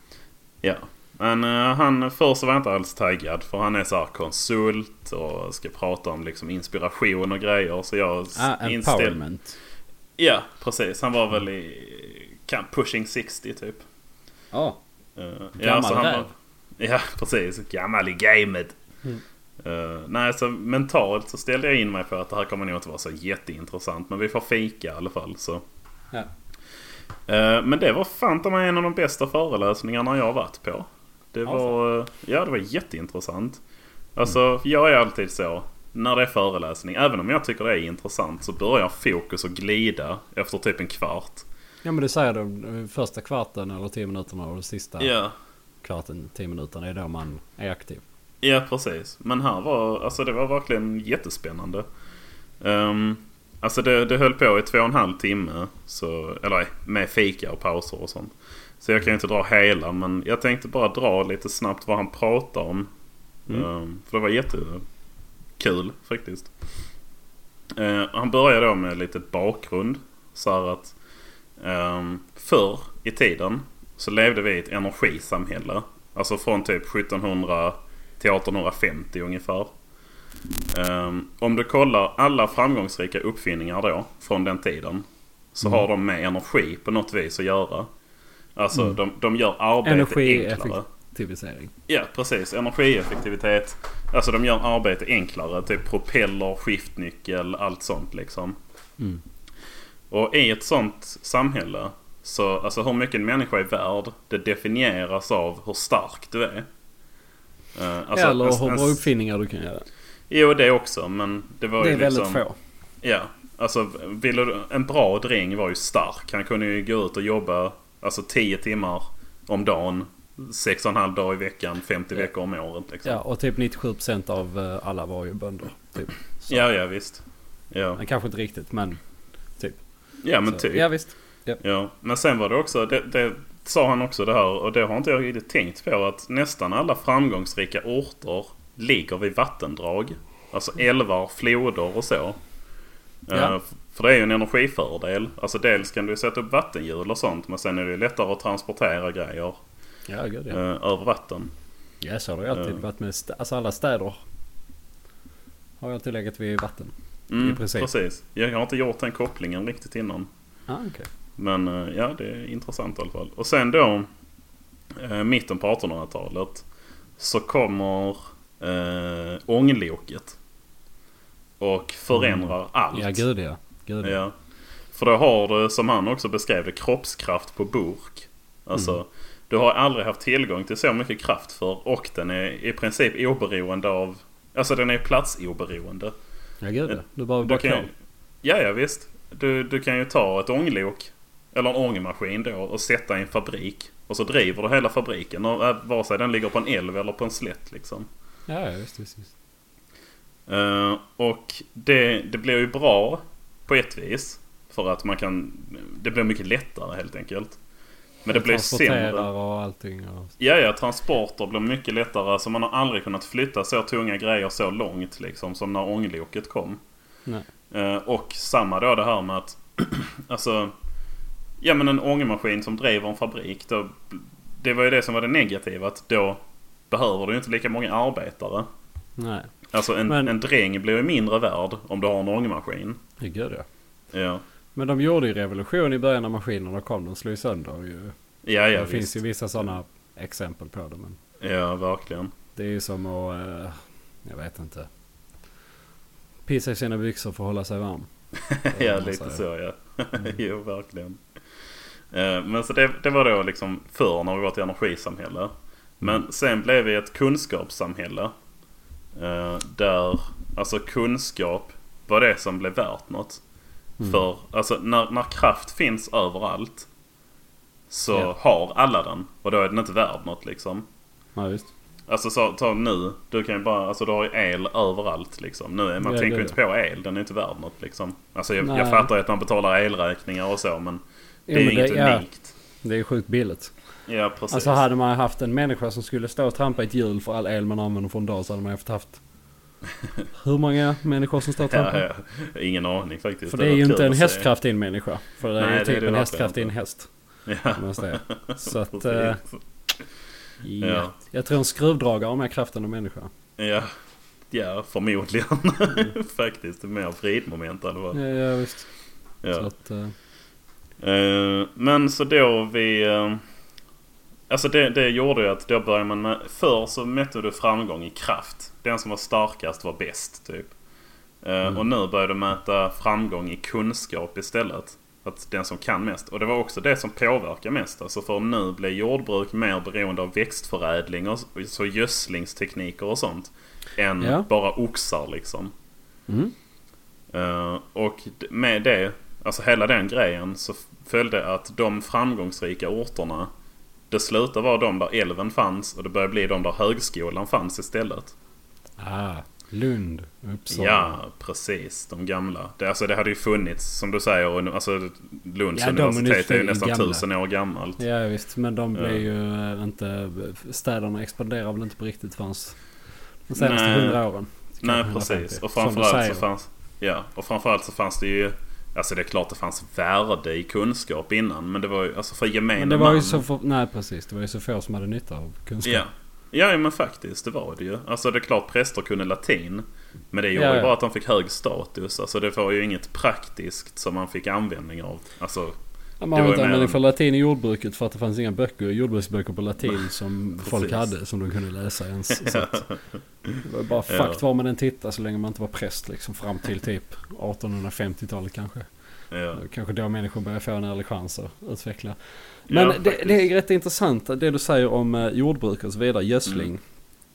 Ja. Men eh, han först var jag inte alls taggad för han är så här konsult och ska prata om liksom inspiration och grejer. Så jag Ah, s- inställ- empowerment. Ja, precis. Han var väl i kan- pushing 60 typ. Ja. Eh, Gammal så han räv. var, Ja, precis. Gammal i gamet. Eh, nej, så mentalt så ställde jag in mig på att det här kommer nog inte vara så jätteintressant. Men vi får fika i alla fall. Så. Ja. Eh, men det var fan ta mig en av de bästa föreläsningarna jag har varit på. Det var, eh, ja, det var jätteintressant. Alltså, jag är alltid så. När det är föreläsning, även om jag tycker det är intressant, så börjar fokus att glida efter typ en kvart. Ja men det säger de eh, första kvarten eller tio minuterna och den sista Ja, kvarten, tio minuterna är då man är aktiv. Ja, precis. Men här var, alltså det var verkligen jättespännande. Ehm, Alltså det, det höll på i två och en halv timme. Så, eller nej, med fika och pauser och sånt. Så jag kan ju inte dra hela men jag tänkte bara dra lite snabbt vad han pratar om. Mm. Ehm, för det var jättekul faktiskt. Eh, han börjar då med lite bakgrund. Så här att ehm, förr i tiden så levde vi i ett energisamhälle. Alltså från typ 1700 till 1850 ungefär. Ehm, om du kollar alla framgångsrika uppfinningar då från den tiden. Så har de med energi på något vis att göra. Alltså de, de gör arbete enklare. Energieffektivisering. Ja precis, energieffektivitet. Alltså de gör arbete enklare. Typ propeller, skiftnyckel, allt sånt liksom. Mm. Och i ett sånt samhälle. Så alltså hur mycket en människa är värd. Det definieras av hur stark du är. Eh, alltså, Eller en- hur en- bra uppfinningar du kan göra. Jo det också men det var Det ju är väldigt liksom... få. Ja, alltså ville du, en bra dräng var ju stark. Han kunde ju gå ut och jobba alltså 10 timmar om dagen. sex och en halv dag i veckan, 50 Ja. veckor om året. Liksom. Ja, och typ 97% av eh, alla var ju bönder. Typ. Så. ja, ja visst. Ja, Men kanske inte riktigt, men... ja men så. typ. Ja, visst. Ja, men sen var det också, det, det sa han också det här och det har inte jag riktigt tänkt på att nästan alla framgångsrika orter ligger vid vattendrag. Alltså älvar, floder och så. Ja. Eh, f- För det är ju en energifördel. Alltså dels kan du sätta upp vattenhjul och sånt men sen är det ju lättare att transportera grejer Ja, gud ja. eh, över vatten. Ja, så har det ju alltid Ja. varit med stä- Alltså alla städer har ju alltid legat vid vatten. Mm, I princip. precis. Jag har inte gjort den kopplingen riktigt innan. Ah, okej. Men eh, ja, det är intressant i alla fall. Och sen då, eh, mitten på 1800-talet, så kommer eh, ångloket. Och förändrar allt. Mm. Ja, gud ja. Gud, ja. Ja. För då har du, som han också beskrev det, kroppskraft på burk. Alltså, Mm. du har aldrig haft tillgång till så mycket kraft för och den är i princip oberoende av, alltså den är platsoberoende. ja gud ja. Du behöver bara Du kan ju, kol. ja, ja visst. Du, du kan ju ta ett ånglok eller en ångmaskin då och sätta i en fabrik. Och så driver du hela fabriken. Och, eh, vare sig den ligger på en älv eller på en slätt liksom. Ja, ja, visst, visst. visst. Eh, och det, det blir ju bra på ett vis. För att man kan... Det blir mycket lättare helt enkelt. Men det blir sämre. Transporterar och allting. Och... Ja, ja, transporter blir mycket lättare. Alltså man har aldrig kunnat flytta så tunga grejer så långt liksom som när ångloket kom. Nej. Eh, och samma då det här med att, alltså, ja men en ångmaskin som driver en fabrik. Då, det var ju det som var det negativa att då behöver du ju inte lika många arbetare. Nej. Alltså en, Men- en dräng blir ju mindre värd om du har en ångmaskin. Ja, gud ja. Ja, Men de gjorde ju revolution i början när maskinerna kom. De slog ju sönder ju. ja, ja det visst. finns ju vissa sådana exempel på det. Men Ja, verkligen. det är ju som att, eh, jag vet inte. Pissa i sina byxor för att hålla sig varm. ja, man Mm. lite så säger. ja. jo, verkligen. Eh, Men så det, det var då liksom förr när vi var ett energisamhälle. Mm. Men sen blev vi ett kunskapssamhälle. eh, Där alltså kunskap var det som blev värt något. Mm. För alltså när, när kraft finns överallt så Ja. har alla den. Och då är den inte värd något liksom. Ja, visst. Alltså så, ta nu, du kan ju bara, alltså du har ju el överallt liksom. Nu, är- man Ja, tänker det ju är inte på el, den är inte värd något liksom. Alltså jag, jag Nej. fattar ju att man betalar elräkningar och så men det är ju men inget ja, unikt. det är sjukt billigt. Ja precis. Alltså hade man haft en människa som skulle stå och trampa i ett hjul för all el man använder från dag så hade man ju haft haft hur många människor som står och trampar? ja, ja. Ingen aning faktiskt. För det är ju var kul inte en att se. hästkraft i en människa. För det är Nej, det ju är typ det en verkligen hästkraft i en inte. häst. Ja, om jag säger. Så att... eh, precis. ja. Ja. Jag tror en skruvdragare har mer kraft än en människa. ja. ja, förmodligen. faktiskt. Mer fridmoment i alla fall. Mm. Ja, ja visst. Ja. Så att, eh, Eh, men så då vi... eh, Alltså det, det gjorde ju att då började man med... Förr så mätte du framgång i kraft. Den som var starkast var bäst typ. Eh, Och nu börjar du mäta framgång i kunskap istället. Att den som kan mest. Och det var också det som påverkar mest. Alltså för nu blir jordbruk mer beroende av växtförädling och s- så gödslingstekniker och sånt. Än Ja. bara oxar liksom. Mm. Eh, och d- med det, alltså hela den grejen, så f- följde att de framgångsrika orterna det slutade vara de där älven fanns och det började bli de där högskolan fanns istället. ah, Lund, Uppsala. Ja, precis. De gamla. Det, alltså, det hade ju funnits, som du säger, un- alltså, Lunds Ja, de universitet är ju universiteten är nästan gamla. tusen år gammalt. Ja visst, men de blir Ja. ju eh, inte... Städerna expanderar väl inte på riktigt förrän de senaste Nej. hundra åren. Nej, Kanske precis. 150, Och som du framförallt så säger. fanns... Ja, och framförallt så fanns det ju... Alltså det är klart det fanns värde i kunskap innan. Men det var ju... Alltså för gemene Men det var ju man- så få, nej precis, det var ju så få som hade nytta av kunskap. Ja. ja, men faktiskt. Det var det ju. Alltså det är klart präster kunde latin. Men det gjorde Ja, ju ja. bara att de fick hög status. Alltså det var ju inget praktiskt som man fick användning av. Alltså, Ja, Det man hade var ju inte mer användning än- för latin i jordbruket för att det fanns inga böcker, jordbruksböcker på latin som folk Precis. hade som de kunde läsa ens. Så att, det var ju bara Ja. fakt var man än tittade så länge man inte var präst liksom fram till typ 1850-talet kanske. ja. Kanske då människor började få en ärlig chans att utveckla. Ja, Men det, faktiskt. det är rätt intressant det du säger om eh, jordbruk och så vidare, gödsling.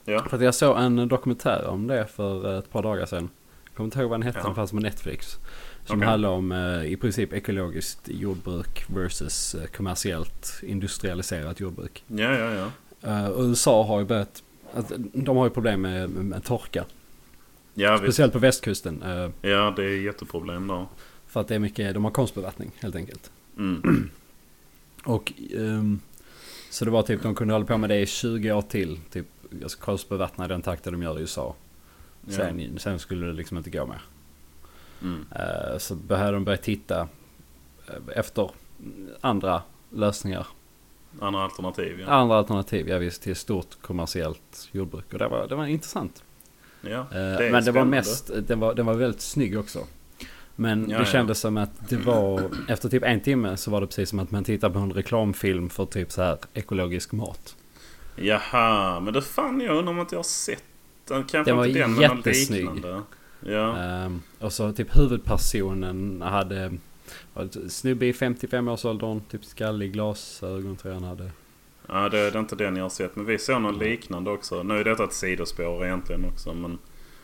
Ja. För att jag såg en dokumentär om det för eh, ett par dagar sedan. Jag kommer inte ihåg vad den hette, Ja. den fanns på Netflix. Som Okej. handlar om eh, i princip ekologiskt jordbruk versus eh, kommersiellt industrialiserat jordbruk. Ja, ja, ja. Eh, och USA har ju börjat, att, de har ju problem med, med torka. Ja, visst. Speciellt på västkusten. eh, ja det är jätteproblem då. för att det är mycket, de har konstbevattning helt enkelt. Mm. Och ehm, så det var typ de kunde hålla på med det i 20 år till. Typ alltså konstbevattna i den takten de gör i USA. Ja. Sen, sen skulle det liksom inte gå mer. Mm. Eh, Så behöver de börja titta eh, efter andra lösningar. Andra alternativ, ja. Andra alternativ, ja visst, till stort kommersiellt jordbruk. Och det var, det var intressant. ja Eh, är Men det var spännande. mest, den var, den var väldigt snygg också. Men Ja, det ja. kändes som att det var, efter typ en timme så var det precis som att man tittar på en reklamfilm för typ så här ekologisk mat. Jaha, men det fan jag undrar om inte jag har sett den. Kanske Den var inte den, men någon jättesnygg. liknande. Ja, Ehm, och så typ huvudpersonen hade var ett snubbe i 55-årsåldern, typ skallig, glasögon tror jag han hade. ja det, det är inte den jag har sett. Men vi såg någon liknande också. Nu är detta ett sidospår egentligen också. Men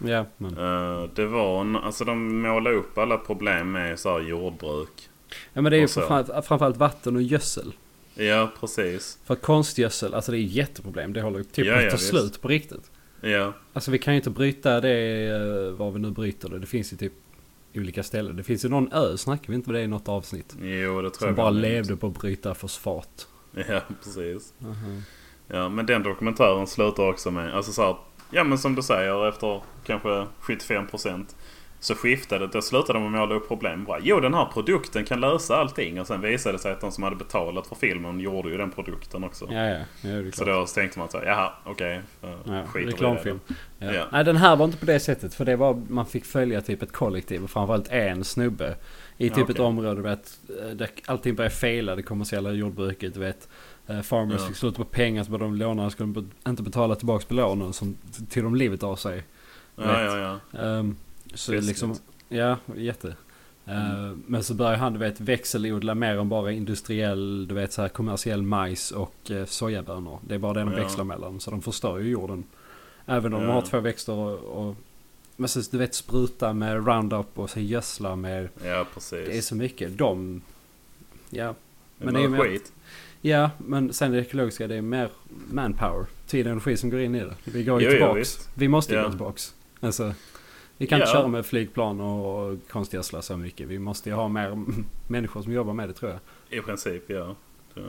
Ja, men eh, det var en, Alltså de målade upp alla problem med så här jordbruk. Ja men det är ju Och så. framförallt, framförallt vatten och gödsel. Ja, precis. För att konstgödsel, alltså det är ett jätteproblem. Det håller ju typ Ja, på att ja, ta visst. slut på riktigt. Ja, Alltså vi kan ju inte bryta det eh, var vi nu bryter det. Det finns ju typ olika ställen. Det finns ju någon ö, snackar vi inte om det i något avsnitt? jo det tror Som jag. bara vi har nämnt. levde på att bryta fosfat. Ja, precis. Ja, men den dokumentären slutar också med, alltså så här, ja men som du säger efter kanske 75% så skiftade det, då slutade de att måla upp problem. Bara, jo den här produkten kan lösa allting och sen visade det sig att de som hade betalat för filmen gjorde ju den produkten också. Ja, ja, ja, det är så klart. då så tänkte man så här, jaha okej, okay, Ja, skiter reklamfilm. Ja. Ja. Nej den här var inte på det sättet. För det var, man fick följa typ ett kollektiv och framförallt en snubbe. I Ja, typ ett okej. område vet, eh, där allting började fela, det kommersiella jordbruket. du Vet. Eh, Farmers Ja. fick slut på pengar så började de låna, skulle de be- inte betala tillbaka på lånen som tog de livet av sig. i det. Ja, ja, ja. Ehm, så Festligt. Mm. liksom, ja jätte. Eh, Men så började han du vet växelodla mer än bara industriell, du vet så här kommersiell majs och eh, sojabönor. Det är bara det de Ja. växlar mellan så de förstör ju jorden. Även om de Ja. har två växter och, och men så, du vet spruta med Roundup och så gödsla med Ja, precis. det är så mycket. De... Ja. men Men det är ju det mer- är skit. ja, men sen det ekologiska det är mer manpower. Tid och energi som går in i det. Vi går ju Jo, jo, tillbaks. visst. vi måste ju Ja. gå tillbaks. Alltså, vi kan inte Ja. köra med flygplan och och konstgödsla så mycket. Vi måste ju ha mer människor som jobbar med det tror jag. I princip ja. Det-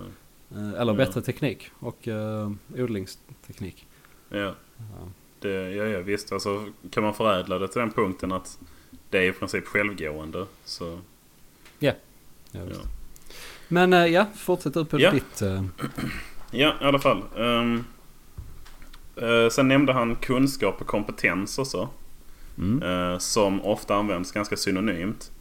Eh, Eller Ja. bättre teknik och eh, odlingsteknik. Ja. Ja. Det, ja, ja visst. Alltså, kan man förädla det till den punkten att det är i princip självgående. Så, Ja, ja. visst. Men eh, ja, fortsätt upp på Ja. ditt... eh, ja, i alla fall. Ehm, eh, sen nämnde han kunskap och kompetens också. mm. eh, som ofta används ganska synonymt.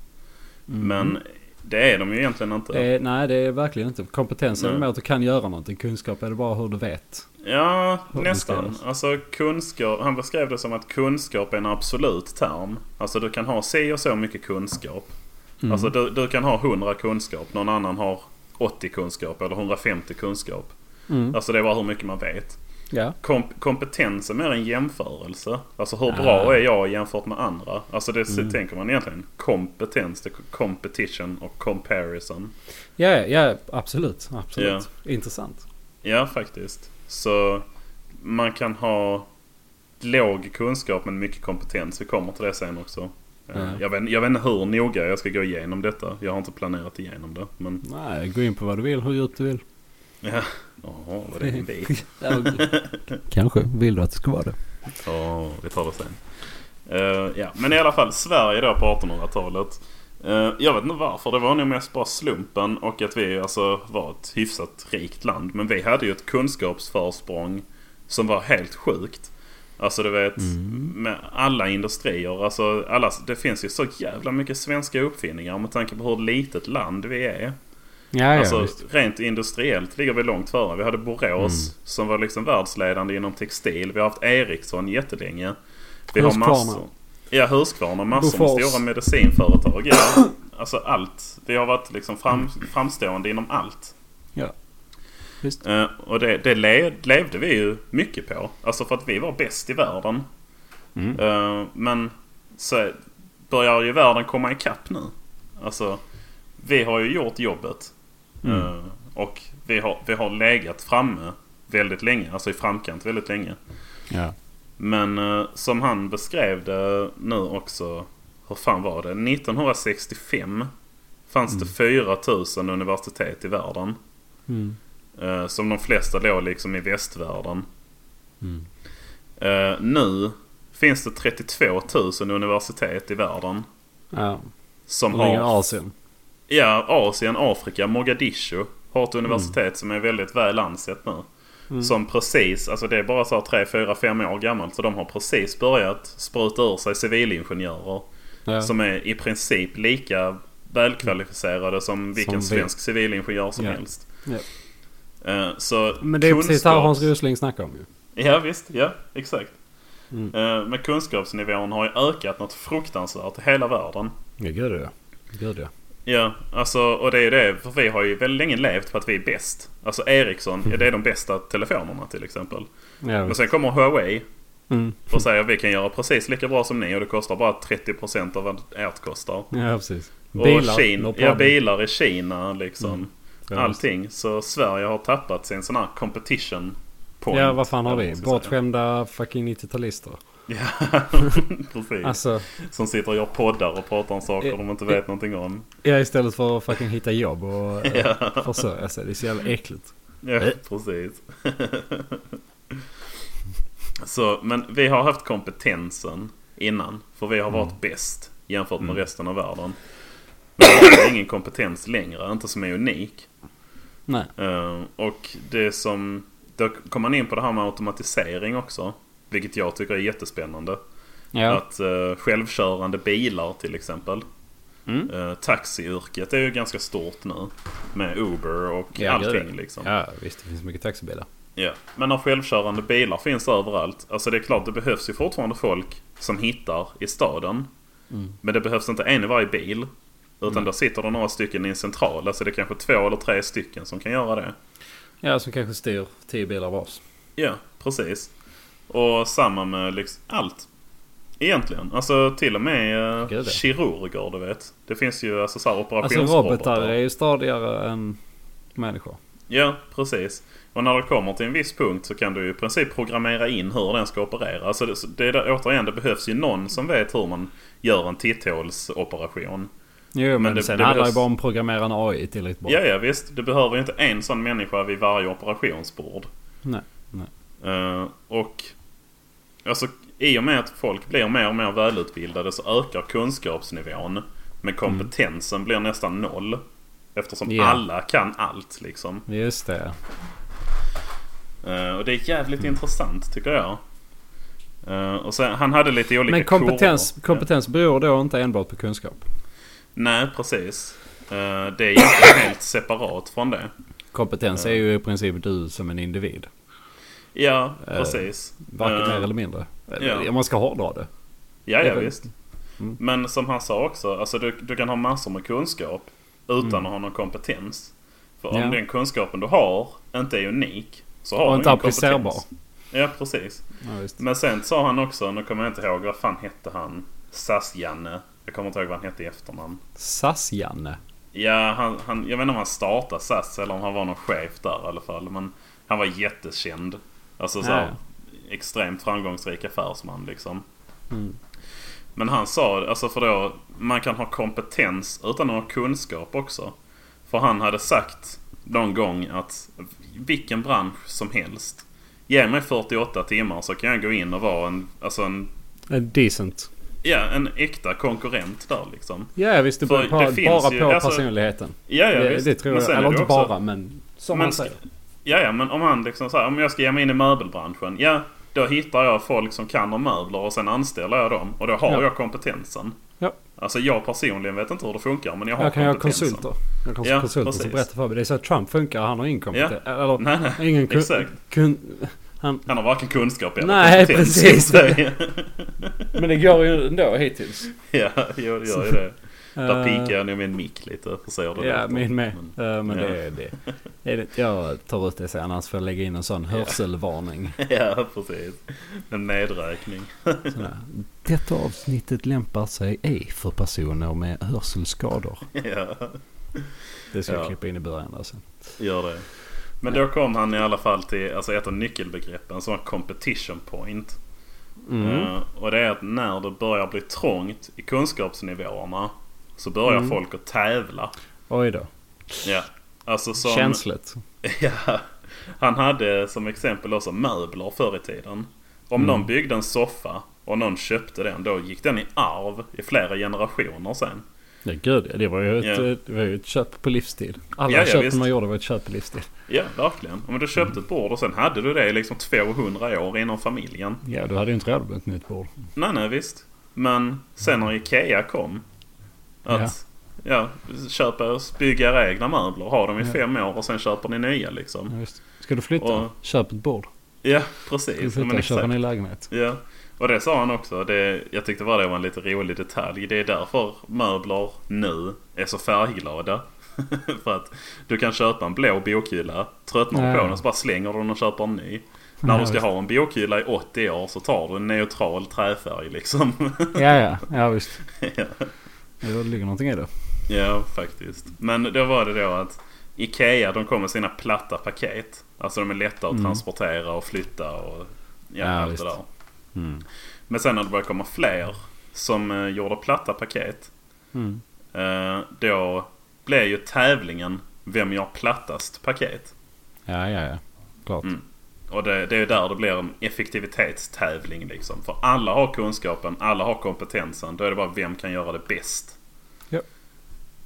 Mm. Men det är de ju egentligen inte. Det är, nej, det är verkligen inte. Kompetens är Nej. mer att du kan göra någonting. Kunskap är det bara hur du vet. Ja, Hur nästan. beskriver Alltså kunskap. Han beskrev det som att kunskap är en absolut term. Alltså du kan ha si och så mycket kunskap. Mm. Alltså du, du kan ha 100 kunskap. Någon annan har 80 kunskap eller 150 kunskap. Mm. Alltså det är bara hur mycket man vet. Ja. Kom, kompetens är mer en jämförelse. Alltså hur Ah. bra är jag jämfört med andra? Alltså det mm. tänker man egentligen. Kompetens, det är competition och comparison. Ja, ja, ja, absolut. absolut. Intressant. Ja, faktiskt. Så man kan ha... låg kunskap men mycket kompetens. Vi kommer till det sen också. Eh, Ja. Jag, vet, jag vet inte hur noga jag ska gå igenom detta. Jag har inte planerat igenom det. Men Nej, gå in på vad du vill, hur djupt du vill. ja, Jaha, vad det är en bit. Kanske vill du att det ska vara det. Ja, vi tar det sen. Eh, ja. Men i alla fall Sverige då på 1800-talet. Eh, jag vet inte varför. Det var nog mest bara slumpen och att vi alltså var ett hyfsat rikt land. Men vi hade ju ett kunskapsförsprång som var helt sjukt. Alltså du vet med alla industrier. Alltså, alla, det finns ju så jävla mycket svenska uppfinningar med tanke på hur litet land vi är. ja, Alltså, rent industriellt ligger vi långt före. Vi hade Borås Mm. som var liksom världsledande inom textil. Vi har haft Ericsson jättelänge. Vi Husqvarna. har massor. Ja, Husqvarna. Massor med Bofors. stora medicinföretag. Ja. Alltså allt. Vi har varit liksom fram, framstående inom allt. Ja. Visst. Eh, och det, det le, levde vi ju mycket på. Alltså för att vi var bäst i världen. Mm. Eh, men så börjar ju världen komma ikapp nu. Alltså, vi har ju gjort jobbet. Mm. Eh, och vi har, vi har legat framme väldigt länge. Alltså i framkant väldigt länge. Ja. Men eh, som han beskrev det nu också. Hur fan var det? 1965 fanns det 4000 universitet i världen. Mm. Eh, som de flesta låg liksom i västvärlden. Mm. Eh, nu finns det 32 000 universitet i världen. Ja, Som längre har Asien. Ja, Asien, Afrika, Mogadishu har ett universitet som är väldigt väl ansett nu. Mm. Som precis, alltså det är bara så här 3, 4, 5 år gammalt. Så de har precis börjat spruta ur sig civilingenjörer. Ja. Som är i princip lika välkvalificerade som vilken vi. svensk civilingenjör som Ja. helst. Ja. Eh, Så Men det är precis det här kunskaps- Hans Rosling snackar om ju. Ja visst, ja exakt. Mm. Eh, Men kunskapsnivån har ju ökat något fruktansvärt i hela världen. Ja, gud ja. Gud ja. Ja, alltså, och det är ju det. För vi har ju väldigt länge levt på att vi är bäst. Alltså Ericsson, ja, det är de bästa telefonerna till exempel. ja Men visst. sen kommer Huawei mm. och säger att vi kan göra precis lika bra som ni och det kostar bara 30% av vad ert kostar. ja, precis. och Kina, no ja, problem. Mm. bilar i Kina liksom. Ja, Allting. Så Sverige har tappat sin sån här competition point. Ja, vad fan har eller vi? man ska säga. Bortskämda fucking 90-talister. Ja, precis. Alltså, Som sitter och gör poddar och pratar om saker Eh, de inte vet någonting om. ja, istället för att fucking hitta jobb och eh, försörja sig. Det är så jävla äckligt. Ja, Eh. precis. så, men vi har haft kompetensen innan. För vi har Mm. varit bäst jämfört med resten av världen. Men vi har ingen kompetens längre, inte som är unik. Nej. Eh, och det som... Då kom man in på det här med automatisering också. Vilket jag tycker är jättespännande. Ja. Att eh, självkörande bilar till exempel. Mm. Eh, taxiyrket är ju ganska stort nu. Med Uber och Ja, gud, allting liksom. Ja, visst. Det finns mycket taxibilar. Ja, men när självkörande bilar finns överallt. Alltså det är klart, det behövs ju fortfarande folk som hittar i staden. Mm. Men det behövs inte en i varje bil. Utan då sitter det några stycken i en central. Alltså det är kanske två eller tre stycken som kan göra det. Ja, som kanske styr tio bilar vars. Ja, precis. Och samma med liksom allt. Egentligen. Alltså till och med eh, Gud, ja. kirurger, du vet. Det finns ju alltså så här Alltså operationsrobotar. robotar är ju stadigare än människor. Ja, precis. Och när det kommer till en viss punkt så kan du ju i princip programmera in hur den ska operera. Alltså det, det är där, återigen, det behövs ju någon som vet hur man gör en titthålsoperation. Jo, men, det- sen det handlar det behövs- bara om att programmera en AI tillräckligt bra. Ja, ja visst. Du behöver ju inte en sån människa vid varje operationsbord. Nej, nej. Eh, och alltså, i och med att folk blir mer och mer välutbildade så ökar kunskapsnivån. Men kompetensen blir nästan noll. Eftersom Ja. alla kan allt liksom. Just det. Eh, och det är jävligt intressant tycker jag. Eh, och sen, han hade lite olika Men kompetens, kurvor. kompetens beror då inte enbart på kunskap. Nej, precis. Eh, det är ju inte helt separat från det. Kompetens är ju i princip du som en individ. Ja, Eh, precis. Varken Eh, mer eller mindre. ja. Om man ska hårdra det. Ja, Det är ja väl- Mm. visst. Mm. Men som han sa också, alltså du, du kan ha massor med kunskap utan att ha någon kompetens. För om Mm. Ja. den kunskapen du har inte är unik så har Och du inte ingen kompetens. applicerbar. Ja, precis. Ja, visst. Men sen sa han också, nu kommer jag inte ihåg, vad fan hette han? SAS-Janne. Jag kommer inte ihåg vad han hette i efternamn. SAS-Janne. Ja, han, han, jag vet inte om han startade SAS eller om han var någon chef där i alla fall. Men han var jättekänd. Alltså så Ja, Mm. här, extremt framgångsrik affärsman liksom. Men han sa, alltså för då, man kan ha kompetens utan att ha kunskap också. För han hade sagt någon gång att vilken bransch som helst. Ge mig 48 timmar så kan jag gå in och vara en, alltså en, Eh, Decent. ja, en äkta konkurrent där liksom. Ja visst, det För beror det på, finns bara ju- på alltså, personligheten. Ja, ja, det, visst. det tror Men jag. sen är Eller det inte också- bara men som Men han ska- säger. Ja, ja, men om han liksom så här, om jag ska ge mig in i möbelbranschen. Ja, då hittar jag folk som kan om möbler och sen anställer jag dem. Och då har Ja. jag kompetensen. Ja. Alltså jag personligen vet inte hur det funkar men jag har Jag kan göra kompetensen. konsulter. Jag kan Ja, ha konsulter som precis. berättar för mig. Det är så att Trump funkar. Han har ingen kompetens. Eller Nej, nej. ingen kun, Exakt. kun, Han har varken kunskap eller Nej, kompetens. precis. kan jag säga. Men det går ju ändå hittills. ja, jo, det gör ju det. Där Eh, pikar jag nog min mick lite. Så ser det Ja, låter. min med. Men- Eh, men ja. det är det. är det. Jag tar ut det sen annars får jag lägga in en sån hörselvarning. Ja, precis. En nedräkning. Sån här. Detta avsnittet lämpar sig ej för personer med hörselskador. Ja, Det ska jag Ja. klippa in i början alltså. gör det. Men då kom han i alla fall till alltså ett av nyckelbegreppen som var competition point. Eh, och det är att när det börjar bli trångt i kunskapsnivåerna så börjar Mm. folk att tävla. Oj då. Ja. Alltså som, Känsligt. Ja. Han hade som exempel också möbler förr i tiden. Om någon byggde en soffa och någon köpte den då gick den i arv i flera generationer sen. Ja, gud, det var ju ett, eh, Ja. det var ju ett köp på livstid. Alla Ja, ja, köp visst. man gjorde var ett köp på livstid. Ja, verkligen. Om du köpte ett bord och sen hade du det i liksom 200 år inom familjen. Ja, du hade ju inte råd med ett nytt bord. Nej, nej, visst. Men sen när Ikea kom. Att ja. köpa och bygga era egna möbler. Ha dem i Ja. fem år och sen köper ni nya liksom. Ja, visst. Ska du flytta? Och- Köp ett bord. Ja, Ska du precis. Ja, flytta? men och Köp en exakt. ny lägenhet. Ja, och det sa han också. Det, jag tyckte bara det var en lite rolig detalj. Det är därför möbler nu är så färgglada. För att du kan köpa en blå bokhylla, tröttnar du på Ja. den så bara slänger du den och köper en ny. När Ja, du ska visst. ha en bokhylla i 80 år så tar du en neutral träfärg liksom. Ja, ja, ja visst. Ja. Det ligger någonting i det. ja, faktiskt. Men då var det då att Ikea de kom med sina platta paket. Alltså de är lätta att Mm. transportera och flytta och ja, Ja, allt visst. det där. Mm. Men sen när det började komma fler som eh, gjorde platta paket. Mm. Eh, då blev ju tävlingen vem gör plattast paket. Ja, ja, ja. Klart. Mm. Och det, det är ju där det blir en effektivitetstävling liksom. För alla har kunskapen, alla har kompetensen. Då är det bara vem kan göra det bäst. Ja.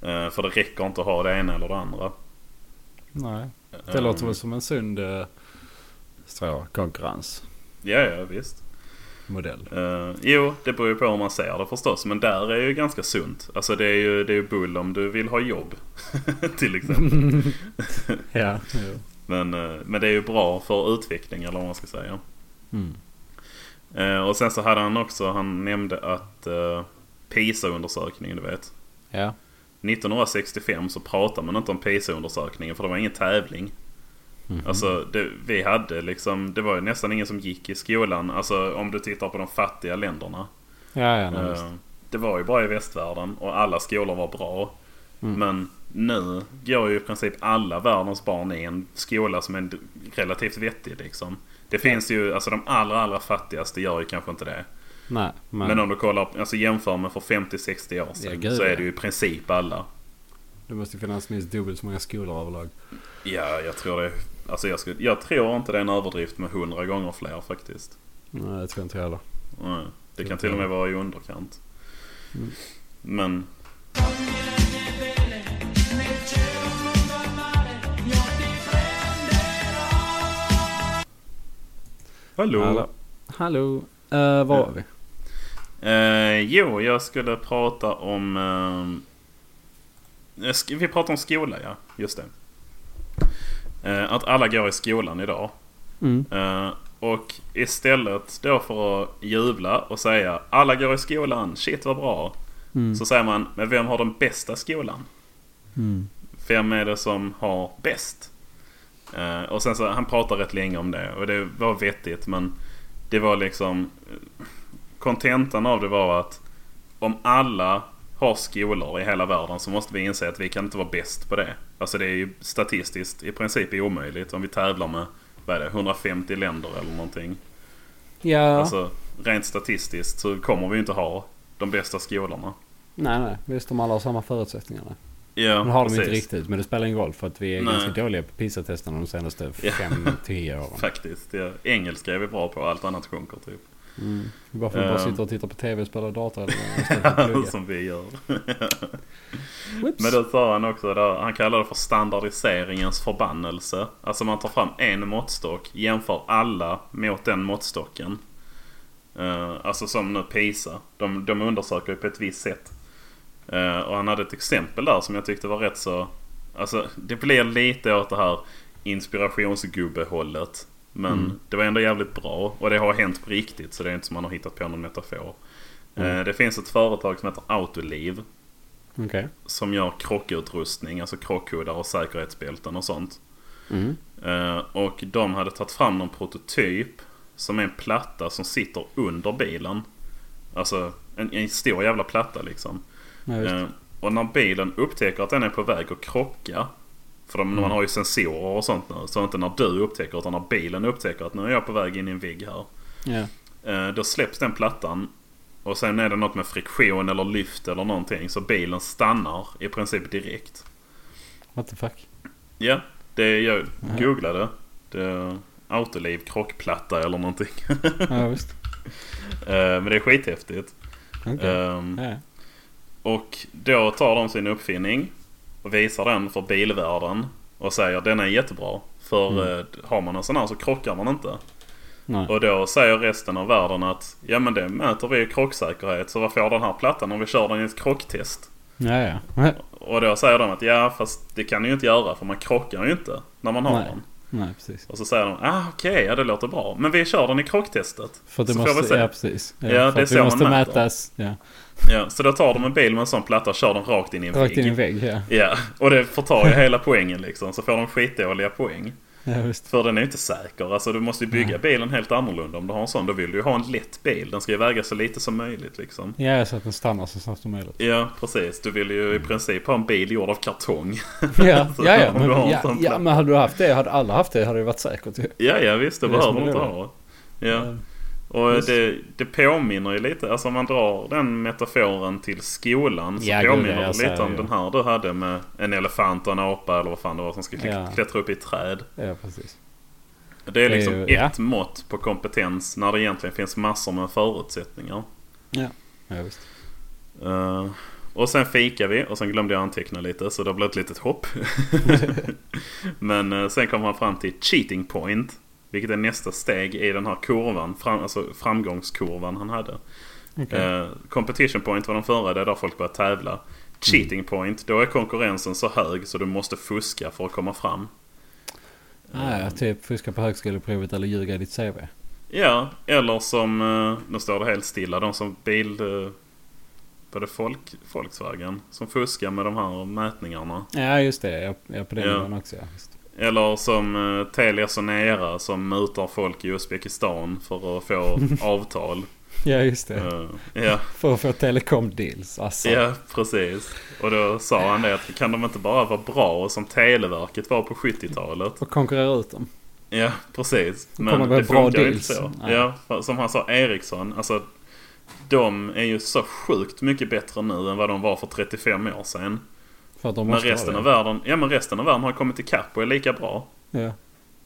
Eh, för det räcker inte att ha det ena eller det andra. Nej, det låter väl som en sund eh, strå, konkurrensmodell. Ja, ja visst. Eh, jo, det beror ju på hur man ser det förstås. Men där är ju ganska sunt. Alltså det är ju, det är ju bull om du vill ha jobb. Till exempel. Ja. Men, eh, men det är ju bra för utveckling eller vad man ska säga. Mm. Eh, Och sen så hade han också, han nämnde att eh, PISA-undersökningen, du vet. ja. 1965 så pratade man inte om PISA-undersökningen för det var ingen tävling. Mhm. Alltså det, vi hade liksom, det var ju nästan ingen som gick i skolan. Alltså om du tittar på de fattiga länderna. Ja, ja, nej, Eh, visst. Det var ju bara i västvärlden och alla skolor var bra. Mm. Men nu går ju i princip alla världens barn i en skola som är d- relativt vettig liksom. Det finns ju, alltså de allra allra fattigaste gör ju kanske inte det. Nej, men, Men om du kollar, alltså jämför med för 50-60 år sedan Ja, gud, så är ja. det ju i princip alla. det måste ju finnas minst dubbelt så många skolor överlag. Ja, jag tror det. Alltså jag, skulle, jag tror inte det är en överdrift med 100 gånger fler faktiskt. Nej, det tror jag inte heller. Nej, det kan till och med vara i underkant. Men... Hallå. Hallå. Hallå. Eh, var var vi? Eh, jo, jag skulle prata om... eh, sk- vi pratar om skola, ja. Just det. Eh, att alla går i skolan idag. Mm. Eh, och istället då för att jubla och säga alla går i skolan, shit vad bra. Mm. Så säger man, men vem har den bästa skolan? Mm. Vem är det som har bäst? Eh, och sen så, han pratade rätt länge om det och det var vettigt men det var liksom... eh, Kontentan av det var att om alla har skolor i hela världen så måste vi inse att vi kan inte vara bäst på det. Alltså det är ju statistiskt i princip omöjligt om vi tävlar med, vad är det, 150 länder eller någonting. Ja, Alltså, rent statistiskt så kommer vi inte ha de bästa skolorna. nej nej. Visst de alla har samma förutsättningar. nej. Ja, Nu har de inte precis. riktigt men det spelar ingen roll för att vi är Nej. ganska dåliga på PISA-testerna de senaste Ja. 5-10 åren. Faktiskt. Ja. Engelska är vi bra på, allt annat sjunker typ. Mm. Det är bara för att vi bara Ehm. sitter och tittar på TV och spelar dator eller vad istället för att plugga. Som vi gör. Whoops. Men då sa han också där, han kallar det för standardiseringens förbannelse. Alltså man tar fram en måttstock, jämför alla mot den måttstocken. Eh, alltså som nu PISA. De, de undersöker ju på ett visst sätt. Eh, och han hade ett exempel där som jag tyckte var rätt så... Alltså det blir lite åt det här inspirationsgubbehållet. Men det var ändå jävligt bra och det har hänt på riktigt så det är inte som man har hittat på någon metafor. Eh, det finns ett företag som heter Autoliv Okej. som gör krockutrustning, alltså krockkuddar och säkerhetsbälten och sånt. Mm. Eh, och de hade tagit fram någon prototyp som är en platta som sitter under bilen. Alltså en, en stor jävla platta liksom. Ja, visst. Eh, och när bilen upptäcker att den är på väg att krocka. För de, Mm. man har ju sensorer och sånt nu. Så inte när du upptäcker utan när bilen upptäcker att nu är jag på väg in i en vägg här. Ja. Eh, Då släpps den plattan. Och sen är det något med friktion eller lyft eller någonting. Så bilen stannar i princip direkt. What the fuck? Ja, det jag googlade. Det, Autoliv krockplatta eller någonting. Ja visst. Eh, Men det är skithäftigt. Okej. Ehm, Ja. Och då tar de sin uppfinning och visar den för bilvärlden och säger den är jättebra. För eh, har man en sån här så krockar man inte. Mm. Nej. Och då säger resten av världen att ja men det mäter vi i krocksäkerhet så vad får den här plattan om vi kör den i ett krocktest? Ja, ja. Nej. Och då säger de att ja fast det kan ni ju inte göra för man krockar ju inte när man har Nej. den. Nej, precis. Och så säger de ah okej, ja det låter bra. Men vi kör den i krocktestet. För att det Så får vi måste... se. Ja, precis. Ja, det för att ser vi man måste mäter. mätas. Ja. Ja, så då tar de en bil med en sån platta och kör den rakt in i en Rakt vägg. in i en vägg. Ja, Ja, och det förtar ju hela poängen liksom. Så får de skitdåliga poäng. ja visst. För den är ju inte säker. Alltså du måste ju bygga bilen helt annorlunda om du har en sån. Då vill du ju ha en lätt bil. Den ska ju väga så lite som möjligt liksom. Ja, så att den stannar så snabbt som möjligt. Ja, precis. Du vill ju i princip ha en bil gjord av kartong. Mm. Ja, Så ja, ja, om men, du har en ja, sån ja platta. men hade du haft det, hade alla haft det, hade det varit säkert ju. Ja, ja visst. Det, Det är behöver som du det inte är. ha. Ja. Ehm, Och visst. det, det påminner ju lite. Alltså om man drar den metaforen till skolan så Ja, gud, påminner ja, jag det lite säger om ju. den här du hade med en elefant och en apa eller vad fan det var som skulle Ja. klättra upp i ett träd. Ja, precis. Det är liksom Det är ju- ett mått på kompetens när det egentligen finns massor med förutsättningar. Ja, visst. Eh, och sen fikar vi och sen glömde jag anteckna lite så det blev ett litet hopp. Men eh, sen kom han fram till cheating point. Vilket är nästa steg i den här kurvan, fram, alltså framgångskurvan han hade. Okej. Eh, competition point var den förra, det är där folk börjar tävla. Cheating point, då är konkurrensen så hög så du måste fuska för att komma fram. Nej, typ fuska på högskoleprovet eller ljuga i ditt CV. Ja, eller som, eh, nu står det helt stilla, de som bil... eh, Var det folk, Volkswagen? Som fuskar med de här mätningarna. Ja, just det. Ja, ja på den Ja. nivån också. Ja, visst. Eller som eh, Telia Sonera som mutar folk i Uzbekistan för att få avtal. ja just det. Eh, ja, För att få telekom deals. Alltså. ja, precis. Och då sa han det att kan de inte bara vara bra som Televerket var på 70-talet? Och konkurrera ut dem. Ja, precis. kommer Men väl det bra funkar ju inte deals. så. Nej. Ja, för- som han sa, Ericsson. Alltså, de är ju så sjukt mycket bättre nu än vad de var för 35 år sedan. För att de Men måste resten ha av det. världen, ja, men resten av världen har kommit ikapp och är lika bra. Ja.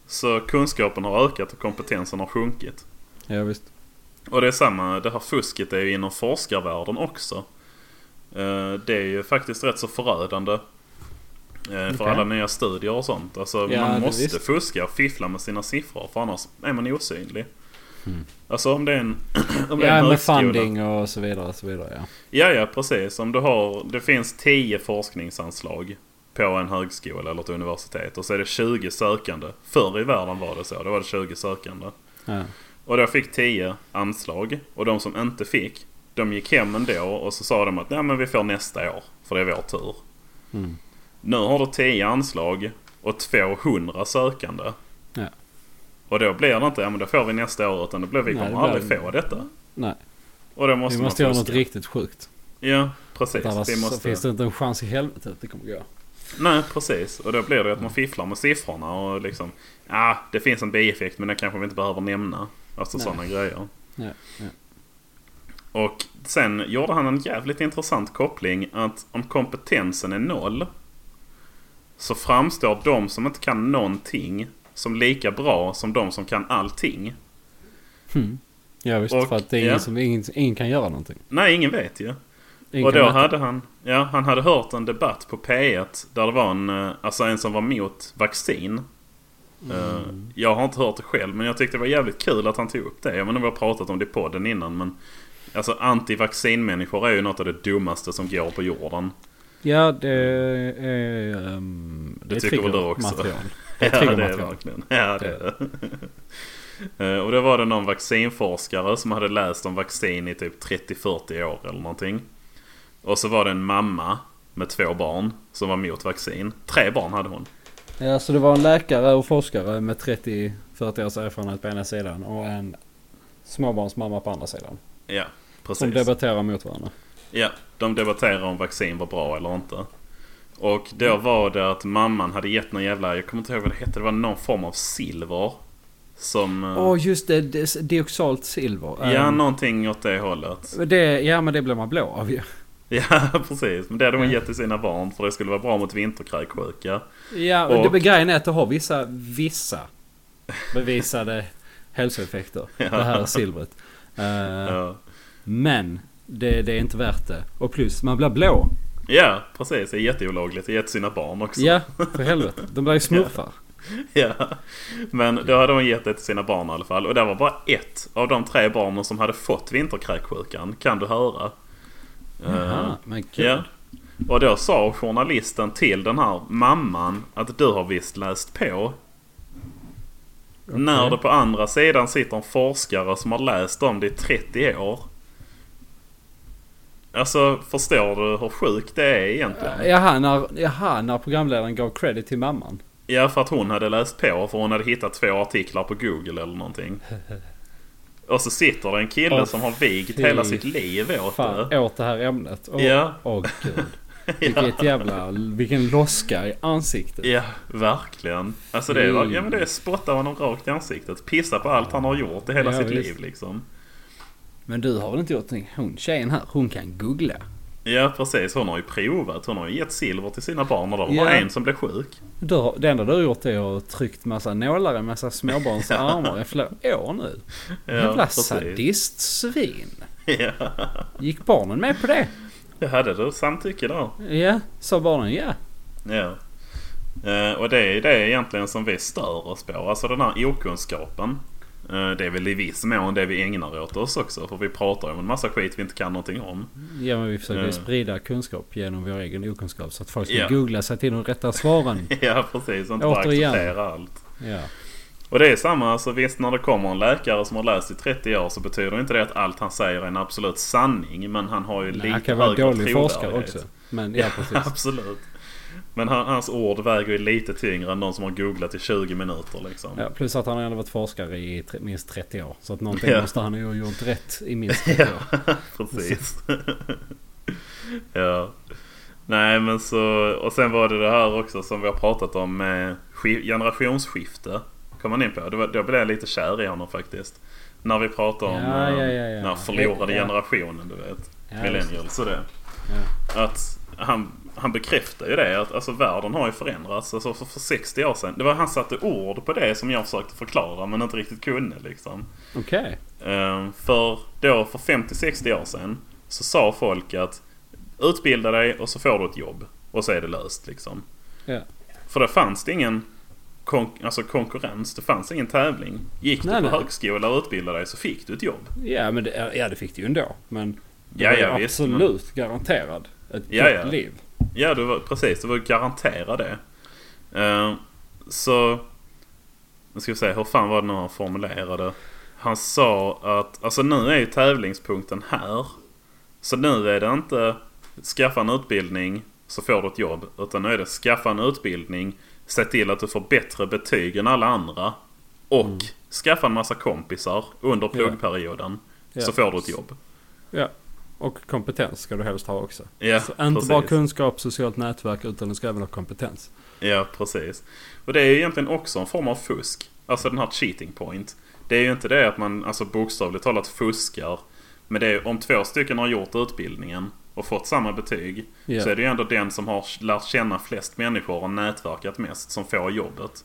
Så kunskapen har ökat och kompetensen har sjunkit. ja, visst. Och det är samma, det här fusket är ju inom forskarvärlden också. Eh, Det är ju faktiskt rätt så förödande. eh, För Okej. alla nya studier och sånt. Alltså Ja, man det måste visst. fuska och fiffla med sina siffror för annars är man osynlig. Alltså om det är en, om det är Ja, en med högskola. funding och så vidare. Och så vidare ja. Ja, ja precis. Om du har, det finns 10 forskningsanslag på en högskola eller ett universitet. Och så är det 20 sökande. Förr i världen var det så. Då var det 20 sökande. Ja. Och då fick 10 anslag. Och de som inte fick, de gick hem ändå och så sa de att nej men vi får nästa år. För det är vår tur. Mm. Nu har du 10 anslag och 200 sökande. Ja. Och då blir det inte, ja men då får vi nästa år. Utan då blir vi Nej, kommer det blir- aldrig få detta. Nej, Och då måste vi man måste göra något fuska. riktigt sjukt. Ja, precis. Annars Vi så finns måste... det inte en chans i helvetet att det kommer gå. Nej, precis. Och då blir det att man fifflar med siffrorna och liksom... Ja, det finns en bieffekt men den kanske vi inte behöver nämna. Alltså Nej. sådana grejer. Ja, ja. Och sen gjorde han en jävligt intressant koppling att om kompetensen är noll så framstår de som inte kan någonting som lika bra som de som kan allting. ja visst, Och- för att det är ingen, ja. som, ingen, ingen kan göra någonting. Nej, ingen vet ju. Ingen Och kan då veta. hade han, ja, han hade hört en debatt på P1 där det var en, eh, alltså en som var mot vaccin. Eh, Jag har inte hört det själv men jag tyckte det var jävligt kul att han tog upp det. Jag vet inte om vi har pratat om det i podden innan men alltså antivaccinmänniskor är ju något av det dummaste som går på jorden. Ja, det är... ehm, det är tycker väl du också? triggermaterial. Det Ja, är det är det triggermaterial. verkligen. Ja, det är det. Eh, Och då var det någon vaccinforskare som hade läst om vaccin i typ 30-40 år eller någonting. Och så var det en mamma med två barn som var mot vaccin. Tre barn hade hon. Ja, så det var en läkare och forskare med 30-40 års erfarenhet på ena sidan och en småbarnsmamma på andra sidan. Ja, Som precis. debatterar mot varandra. Ja, de debatterade om vaccin var bra eller inte. Och då var det att mamman hade gett någon jävla, jag kommer inte ihåg vad det hette, det var någon form av silver. Som... eh, Åh just det, det dioxalt silver. Ja, Ehm, någonting åt det hållet. det, ja men det blir man blå av ju. Ja, precis. Men det hade hon gett till sina barn för det skulle vara bra mot vinterkräksjuka. Ja, och Och- det, men grejen är att det har vissa, vissa bevisade hälsoeffekter. Det här silvret. Eh, Ja. Men det, det är inte värt det. Och plus, man blir blå. ja, precis. Det är jätteolagligt. Det är gett till sina barn också. Ja, för helvete. De blir ju smurfar. Ja. Men då hade hon gett det till sina barn i alla fall. Och det var bara ett av de tre barnen som hade fått vinterkräksjukan. Kan du höra? Eh, Jaha, Ah, men gud. Ja. Och då sa journalisten till den här mamman att du har visst läst på. När det på andra sidan sitter en forskare som har läst om det i 30 år. Alltså förstår du hur sjukt det är egentligen? Jaha, när, jaha, när programledaren gav credit till mamman. Ja för att hon hade läst på för hon hade hittat två artiklar på google eller någonting. Och så sitter det en kille Åh, som har vigt fy hela sitt liv åt Fan, det. åt det här ämnet. Åh, Ja. åh gud. Vilket jävla, vilken loska i ansiktet. Ja, verkligen. Alltså det Mm. är, ja, men det är spotta honom rakt i ansiktet. Pissa på allt han har gjort i hela Ja, sitt visst. liv liksom. Men du har väl inte gjort någonting? Hon tjejen här, hon kan googla. Ja precis, hon har ju provat. Hon har ju gett silver till sina barn och det var Ja. bara en som blev sjuk. Du har, det enda du har gjort är att ha tryckt massa nålar i massa småbarns armar i flera år nu. Ja, Jävla precis. sadistsvin. Ja. Gick barnen med på det? Jag hade du samtycke där. Ja, sa barnen ja. Ja. Eh, och det är det egentligen som vi stör oss på. Alltså den här okunskapen. Eh, det är väl i viss mån det vi ägnar åt oss också. För vi pratar ju om en massa skit vi inte kan någonting om. Ja men vi försöker Ja. sprida kunskap genom vår egen okunskap så att folk ska Ja. googla sig till de rätta svaren. Ja precis, och inte bara Återigen. acceptera allt. Ja. Och det är samma, alltså visst när det kommer en läkare som har läst i 30 år så betyder inte det att allt han säger är en absolut sanning. Men han har ju Nej, lite han kan vara högre dålig trovärdighet. forskare också. Men ja precis. absolut. Men han, hans ord väger ju lite tyngre än de som har googlat i 20 minuter liksom. Ja, plus att han har ändå varit forskare i tre- minst 30 år. Så att någonting Ja. måste han ju ha gjort rätt i minst 30 år. Precis. ja. Nej men så, och sen var det det här också som vi har pratat om med sk- generationsskifte. Kom man in på. Det var, då blev jag lite kär i honom faktiskt. När vi pratade om Ja, eh, ja, ja, ja. den här förlorade Ja. generationen du vet. Ja, Millennials och det. Att han, han bekräftar ju det att alltså, världen har ju förändrats. Alltså, för, för 60 år sedan. Det var han satte ord på det som jag försökte förklara men inte riktigt kunde liksom. Okej. Ehm, För då, för 50-60 år sedan, så sa folk att utbilda dig och så får du ett jobb. Och så är det löst liksom. Ja. För det fanns det ingen kon- alltså konkurrens, det fanns ingen tävling. Gick Nej, du på nej. högskola och utbildade dig så fick du ett jobb. Ja, men det, ja, det fick du ju ändå. Men det Ja, var ju ja, visst, men- absolut garanterad ett Ja, gott ja. liv. Ja, det var, precis. Det var garantera det. Ehm, så... Nu ska vi se, hur fan var det när han formulerade? Han sa att alltså nu är ju tävlingspunkten här. Så nu är det inte skaffa en utbildning så får du ett jobb. Utan nu är det skaffa en utbildning, se till att du får bättre betyg än alla andra. Och Mm. skaffa en massa kompisar under pluggperioden. Ja. Så får du ett jobb. Ja. Och kompetens ska du helst ha också. Ja, så inte bara kunskap, socialt nätverk utan du ska även ha kompetens. Ja, precis. Och det är ju egentligen också en form av fusk. Alltså den här cheating point. Det är ju inte det att man alltså bokstavligt talat fuskar. Men det är, om två stycken har gjort utbildningen och fått samma betyg. Ja. Så är det ju ändå den som har lärt känna flest människor och nätverkat mest som får jobbet.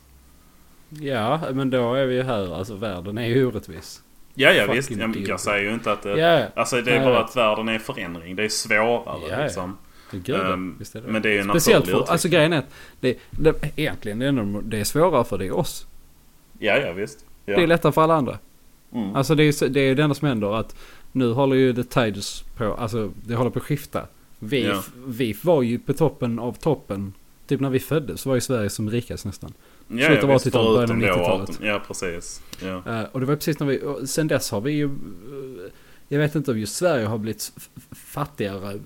Ja, men då är vi ju här. Alltså världen är ju orättvis. Ja, ja Fucking visst. Jag, idiot. jag säger ju inte att det... Ja, Alltså det är Ja, bara jag att världen är i förändring. Det är svårare Ja, ja. liksom. det gud, Ehm, visst är det. Men det är ju en Speciellt naturlig för, utveckling. alltså grejen är att det, det, egentligen det är ändå, det är svårare för det är oss. Ja, ja visst. Ja. Det är lättare för alla andra. Mm. Alltså det är, så- det är ju det enda som händer att nu håller ju the tides på, alltså det håller på att skifta. Vi, Ja. vi var ju på toppen av toppen. Typ när vi föddes så var ju Sverige som rikast nästan. Ja, slutet av ja, visst. 80-talet, början typ av Förutom då 90-talet. 18 Ja, precis. Ja. Eh, och det var precis när vi, och sen dess har vi ju, eh, jag vet inte om just Sverige har blivit f- f- fattigare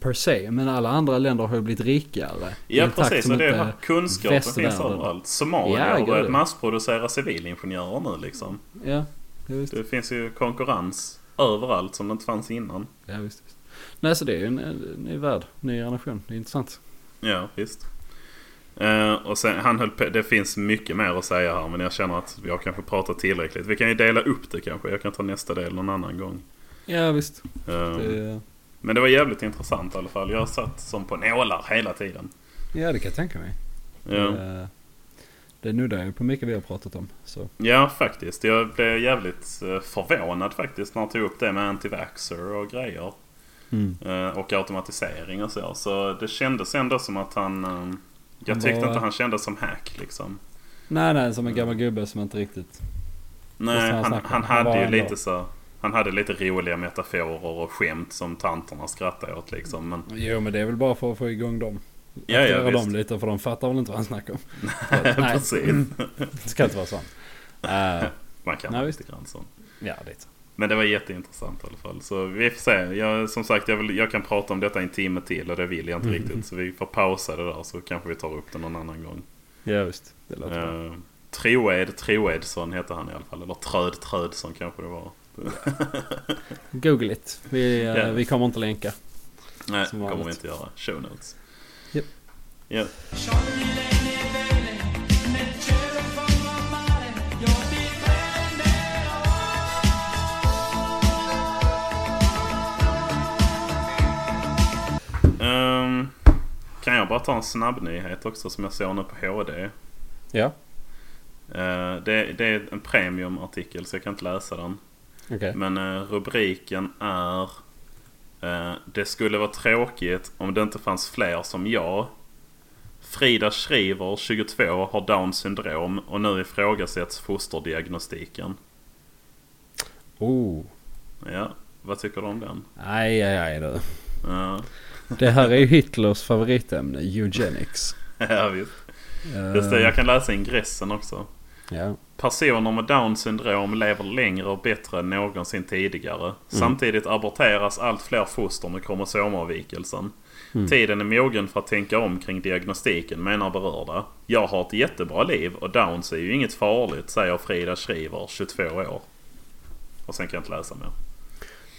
per se, men alla andra länder har ju blivit rikare. i Ja en takt precis, som och det är inte- den här kunskapen finns eh, västvärlden. överallt. Somalia Ja, har gud, börjat ja. massproducera civilingenjörer nu liksom. Ja, ja, visst. Det finns ju konkurrens överallt som det inte fanns innan. Ja, visst, visst. Nej, så det är ju en, en ny värld, ny generation. Det är intressant. Ja, visst. Eh, och sen, han höll på, det finns mycket mer att säga här men jag känner att jag kanske pratar tillräckligt. Vi kan ju dela upp det kanske. Jag kan ta nästa del någon annan gång. Ja, visst. Eh, Det, Men det var jävligt intressant i alla fall. Jag satt som på nålar hela tiden. ja, det kan jag tänka mig. Ja. Det, det nuddar ju på mycket vi har pratat om. Så. Ja, faktiskt. Jag blev jävligt eh, förvånad faktiskt när jag tog upp det med antivaxxer och grejer. Mm. Eh, Och automatisering och så. Så det kändes ändå som att han... eh, Jag Han tyckte var- inte han kändes som hack liksom. Nej, nej, som en gammal gubbe som inte riktigt... Nej, han han, han, snackade. Han var hade ju ändå- lite så... Han hade lite roliga metaforer och skämt som tanterna skrattade åt liksom. Men Jo, men det är väl bara för att få igång dem. ja, Aktivera ja dem visst. lite, för de fattar väl inte vad han snackar om. nej, Precis. det ska inte vara sant. Eh, Man kan Nej, ha visst. lite grann sånt. ja, lite. Men det var jätteintressant i alla fall. Så vi får se. Jag, som sagt, jag, vill, jag kan prata om detta i en timme till och det vill jag inte Mm. riktigt. Så vi får pausa det där så kanske vi tar upp det någon annan gång. Ja, visst. Det låter bra. Uh, Troed Troedsson hette han i alla fall. Eller Tröd Trödsson kanske det var. Google it. Vi, eh, Ja. vi kommer inte länka. Nej, Som kommer vi vanligt. inte göra. Show notes. Japp. Ja. Ehm, kan jag bara ta en snabb nyhet också som jag såg nu på HD? Ja, Eh, det, det är en premiumartikel så jag kan inte läsa den. okej. Men eh, rubriken är eh, Det skulle vara tråkigt om det inte fanns fler som jag. Frida Shriver, 22, har down syndrom och nu ifrågasätts fosterdiagnostiken. Oh. Ja, vad tycker du om den? Aj, aj, aj du. Ja, Det här är ju Hitlers favoritämne, eugenics. ja visst. Eh, Just det, jag kan läsa ingressen också. ja. Personer med down syndrom lever längre och bättre än någonsin tidigare. Mm. Samtidigt aborteras allt fler foster med kromosomavvikelsen. Mm. Tiden är mogen för att tänka om kring diagnostiken menar berörda. Jag har ett jättebra liv och downs är ju inget farligt säger Frida Shriver, 22 år. Och sen kan jag inte läsa mer.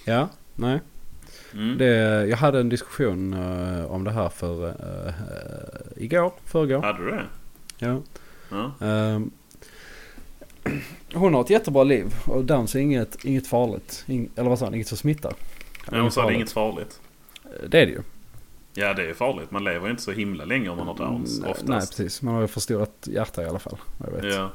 ja, nej. Mm. Det, jag hade en diskussion eh, om det här för eh, eh, igår, förrgår. Hade du det? Ja. Ja. Ehm, hon har ett jättebra liv och dans är inget, inget farligt. Ing, eller vad sa han? Inget som smittar. Nej, hon sa det är inget farligt. Det är det ju. Ja, det är farligt. Man lever ju inte så himla länge om man har downs Mm, Nej, oftast. precis. Man har ju förstorat hjärta i alla fall. Jag vet. Ja.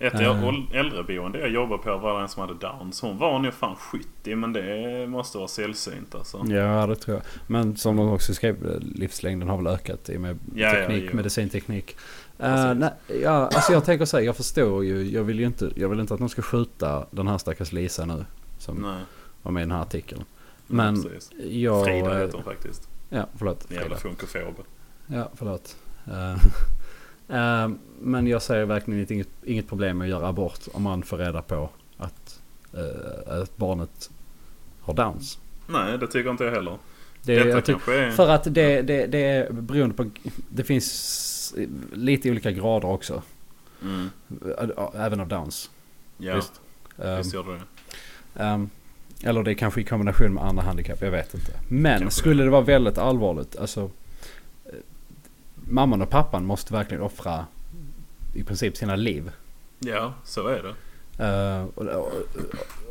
Ett Eh. äl- äldreboende jag jobbade på var en som hade downs. Hon var nog fan 70 men det måste vara sällsynt alltså. Ja, det tror jag. Men som de också skrev, livslängden har väl ökat i och med Ja, ja, teknik, jo. medicinteknik. Uh, Precis. nej, ja, alltså jag tänker så här, jag förstår ju. Jag vill ju inte, jag vill inte att de ska skjuta den här stackars Lisa nu. Som Nej, var med i den här artikeln. men, Men precis. jag... Frida heter eh, hon faktiskt. Ja, förlåt. En jävla Frida. funkofob. Ja, förlåt. Eh, eh, men jag ser verkligen inte- inget, inget problem med att göra abort om man får reda på att, eh, att barnet har downs. Nej, det tycker inte jag heller. Det, Detta jag tycker- kanske är... För att det, det, det är beroende på... Det finns lite olika grader också. Mm, Ä- Även av downs. ja, visst, Visst. Ehm, gör du det. ehm, eller det är kanske i kombination med andra handikapp. Jag vet inte. Men Kanske skulle det. det vara väldigt allvarligt. Alltså, eh, mamman och pappan måste verkligen offra i princip sina liv Ja, så är det. Eh, och, och,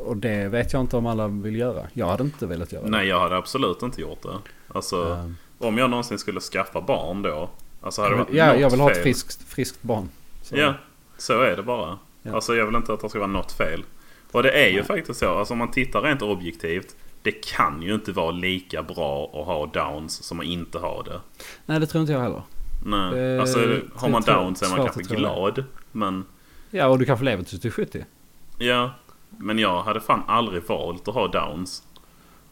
och det vet jag inte om alla vill göra. Jag hade inte velat göra Nej, jag hade absolut inte gjort det. Alltså, det. Eh, om jag någonsin skulle skaffa barn då. Alltså hade det varit ja, något jag vill ha ett fel- friskt, friskt barn. Så- Ja, så är det bara. Ja. Alltså jag vill inte att det ska vara något fel. Och det är ju faktiskt så. Alltså om man tittar rent objektivt. Det kan ju inte vara lika bra att ha downs som att inte ha det. Nej, det tror inte jag heller. Nej. Eh, alltså det har man tror- downs är man svårt kanske att tro det. glad. Men Ja, och du kanske lever tills du är 70? ja. Men jag hade fan aldrig valt att ha downs.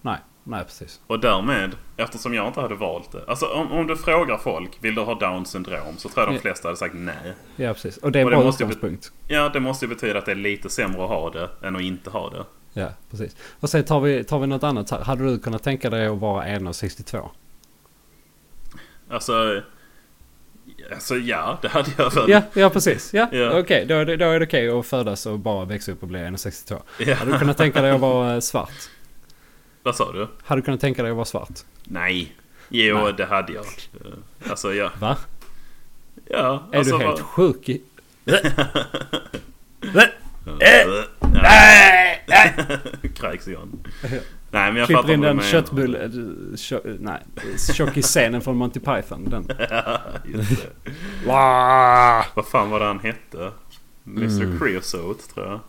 Nej, nej precis. Och därmed, eftersom jag inte hade valt det. Alltså om, om du frågar folk, vill du ha down syndrom? Så tror jag de Ja. flesta hade sagt nej. Ja, precis. Och det är en Och det bra måste ju- utgångspunkt. Ja, det måste ju betyda att det är lite sämre att ha det än att inte ha det. Ja, precis. Och sen tar vi, tar vi något annat här. Hade du kunnat tänka dig att vara 1,62? Alltså... Alltså ja, det hade jag väl. Ja, ja precis. Ja, Ja. okej. Då, är det- då är det okej att födas och bara växa upp och bli 1,62. Ja. Hade du kunnat tänka dig att vara eh, svart? Vad sa du? Hade du kunnat tänka dig att vara svart? Nej. Jo, Nej. det hade jag. Eh, Alltså ja. Va? ja Är alltså, du helt vad- sjuk? i- Eh! Nej! Kräks igen. Nej, men jag Klipper in vad du den menar. köttbulle... eh, kö- Nej, tjockisscenen från Monty Python. Den. Just det. Vad fan var det han hette? Mr Mm. Creosote tror jag.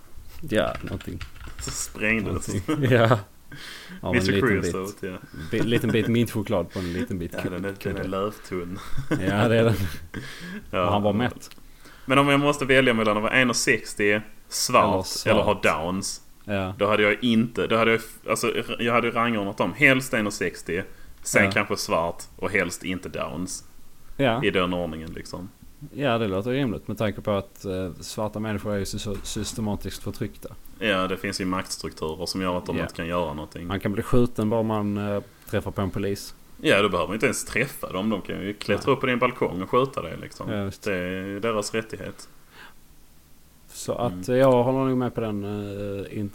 Ja, någonting. Så sprängdes. Ja. Av en Mr liten bit, Creosote ja. bi- liten bit mintchoklad på en liten bit Ja, den är, den är kudde. lövtunn. Ja, det är den. Ja. Och han var mätt. Men om jag måste välja mellan att vara 1,60 svart Eller eller, svart. ha downs. Ja. Då hade jag inte, då hade jag, alltså, jag hade rangordnat dem. Helst 1,60. Sen Ja. kanske svart och helst inte downs. Ja. I den ordningen liksom. ja, det låter rimligt med tanke på att eh, svarta människor är ju sy- systematiskt förtryckta. Ja, det finns ju maktstrukturer som gör att de Ja. inte kan göra någonting. Man kan bli skjuten bara man eh, träffar på en polis. Ja, du behöver inte ens träffa dem. De kan ju klättra upp på din balkong och skjuta dig liksom. Ja, just. det är deras rättighet. Så att Mm. eh, jag håller nog med på den, eh, in,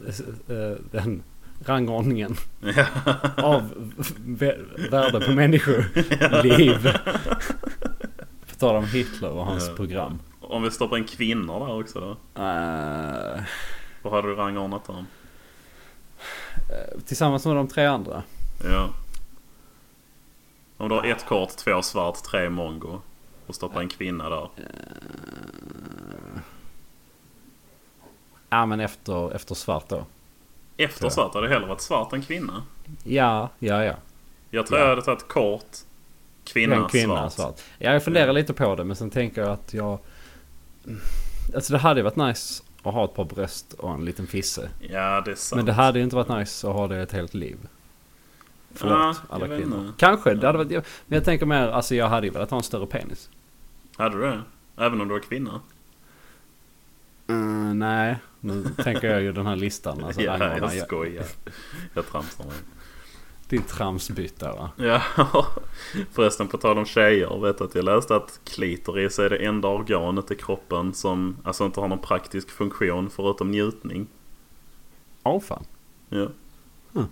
eh, den rangordningen Ja. av vä- värde på människoliv. På tal om Hitler och hans Ja. program. Om vi stoppar in kvinnor där också då? Eh, Vad hade du rangordnat dem? tillsammans med de tre andra. Ja. Om du har ett kort, två svart, tre mongo och stoppar en kvinna där. Ja men efter, efter svart då. Efter Ja. svart hade det hellre varit svart än kvinna. Ja, ja, ja. Jag tror Ja. jag hade tagit kort, kvinna, en kvinna svart. svart. Ja, jag funderar lite på det men sen tänker jag att jag... Alltså det hade ju varit nice att ha ett par bröst och en liten fisse. Ja, det är sant. Men det hade ju inte varit nice att ha det ett helt liv. Förlåt Ja, jag alla vet kvinnor. inte. Kanske. Det hade varit, jag- men jag tänker mer, alltså jag hade ju velat ha en större penis. Hade du det? Även om du var kvinna? Mm, nej, nu tänker jag ju den här listan. Alltså, ja, rangordna. jag Jag- skojar. Jag tramsar mig. Din tramsbytta va? Ja, förresten på tal om tjejer. Vet du att jag läste att klitoris är det enda organet i kroppen som alltså inte har någon praktisk funktion förutom njutning. Åh fan. Ja. Hmm.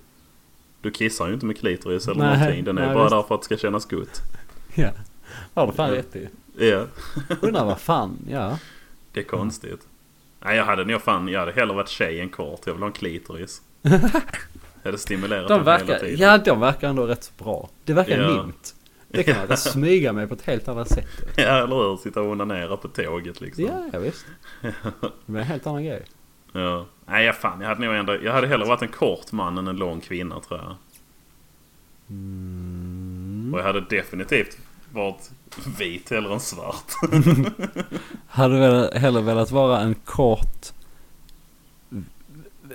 Du kissar ju inte med klitoris eller Nej, någonting. Den är nej, ju bara visst. där för att det ska kännas gott. Ja, har du fan rätt i. Ja, Undrar vad fan, ja. det är konstigt. Nej, jag hade nog fan, jag hade hellre varit tjej än kort. Jag vill ha en klitoris. Jag hade stimulerat De den hela verkar, tiden. ja, de verkar ändå rätt så bra. Det verkar Ja. mint. Det kan man smyga med på ett helt annat sätt. Ja, eller hur? Sitta och onanera på tåget liksom. Ja, ja visst. Det är en helt annan grej. Ja. Nej, jag fan, jag hade nog ändå, jag hade hellre varit en kort man än en lång kvinna tror jag. Mm. Och jag hade definitivt varit vit hellre än svart. Hade väl hellre velat vara en kort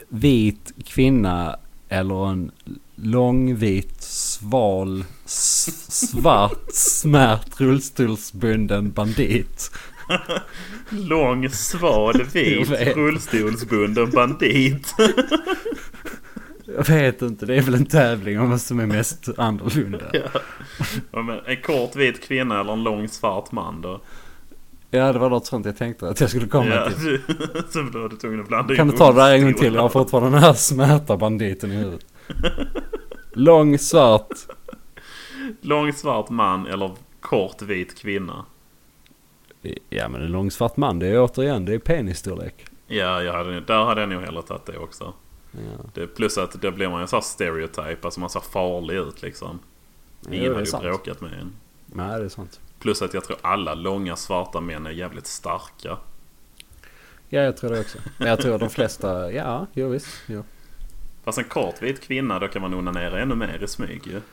vit kvinna eller en lång vit sval s- svart smärt rullstolsbunden bandit. Lång, sval, Jag vet. vit, rullstolsbunden bandit. Jag vet inte, det är väl en tävling om vad som är mest annorlunda. Ja, men en kort vit kvinna eller en lång svart man då? Ja, det var något sånt jag tänkte att jag skulle komma Ja, till. du, så blev du tvungen att blanda Kan in du ta det där en gång rullstolar. till? Jag har fortfarande den här smärta banditen i huvudet. Lång svart. Lång svart man eller kort vit kvinna? Ja men en lång svart man, det är återigen, det är penisstorlek. Ja, jag hade, där hade jag nog hellre tagit det också. Ja. Det, plus att då blir man ju så här stereotyp, alltså man ser farlig ut liksom. Jo, Ingen det är hade ju sant. bråkat med en. Nej, det är sant. Plus att jag tror alla långa svarta män är jävligt starka. Ja, jag tror det också. Men jag tror de flesta, ja, jo visst. Jo. Fast en kort vit kvinna, då kan man onanera ännu mer i smyg ju.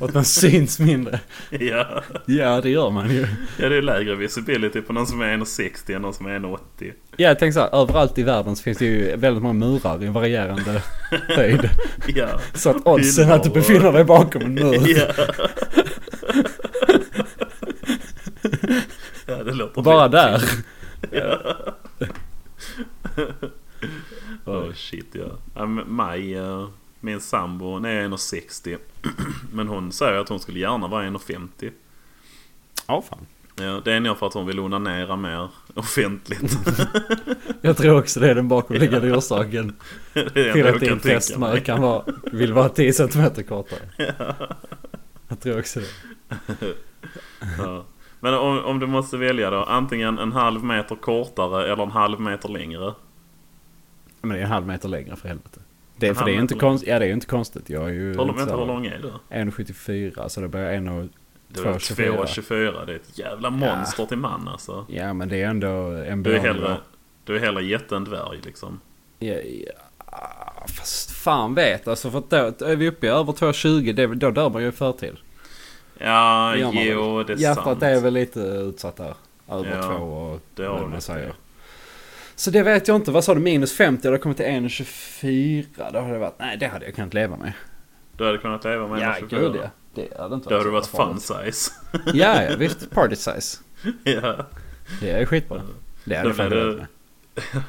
Och att man syns mindre. Ja. Ja, det gör man ju. ja, det är lägre visibility på någon som är 1,60 än någon som är 1,80. Ja, jag tänker så här, överallt i världen så finns det ju väldigt många murar i varierande höjd. Ja. Så att oddsen att du befinner dig bakom en mur. Ja. ja, det låter Bara fint. där. Ja. oh shit ja. ja men Maj, eh, min sambo, hon är 1,60. Men hon säger att hon skulle gärna vara 1,50. Ja, fan. Ja, det är nog för att hon vill onanera mer offentligt. Jag tror också det är den bakomliggande orsaken Det är det till enda att jag kan din tänka fästmö mig. kan vara, vill vara 10 cm kortare. Jag tror också det. Ja. Men om, om du måste välja då, antingen en halv meter kortare eller en halv meter längre. Men det är en halv meter längre för helvete. Det, En för det är ju halv inte meter konstigt. längre. Ja, det är ju inte konstigt. Jag är ju Hur, inte vänta, så hur här lång är du? 1,74 så det blir en och... Du är 2,24. 2,24. Det är ett jävla monster till man alltså. Ja men det är ändå en Du är bra hellre, du är hellre jätte än dvärg liksom. Ja, ja. Ah, Fast fan vet alltså för att då, då är vi uppe i över 2,20 det, är väl- då dör man ju i förtid. Ja, Det gör man jo det är Hjärtat sant. är väl lite utsatt där. Över Ja, två och det har vad du man rätt i. säger. Så det vet jag inte. Vad sa du? Minus 50? Det har kommit till 1,24. Då hade det varit... Nej, det hade jag kunnat leva med. Du hade kunnat leva med Ja, 1,24. gud ja. Det hade inte Då hade du varit så farligt. fun size. Ja, ja, visst. Party size. ja. Det är skitbra. Det hade Då jag fan blev levt det-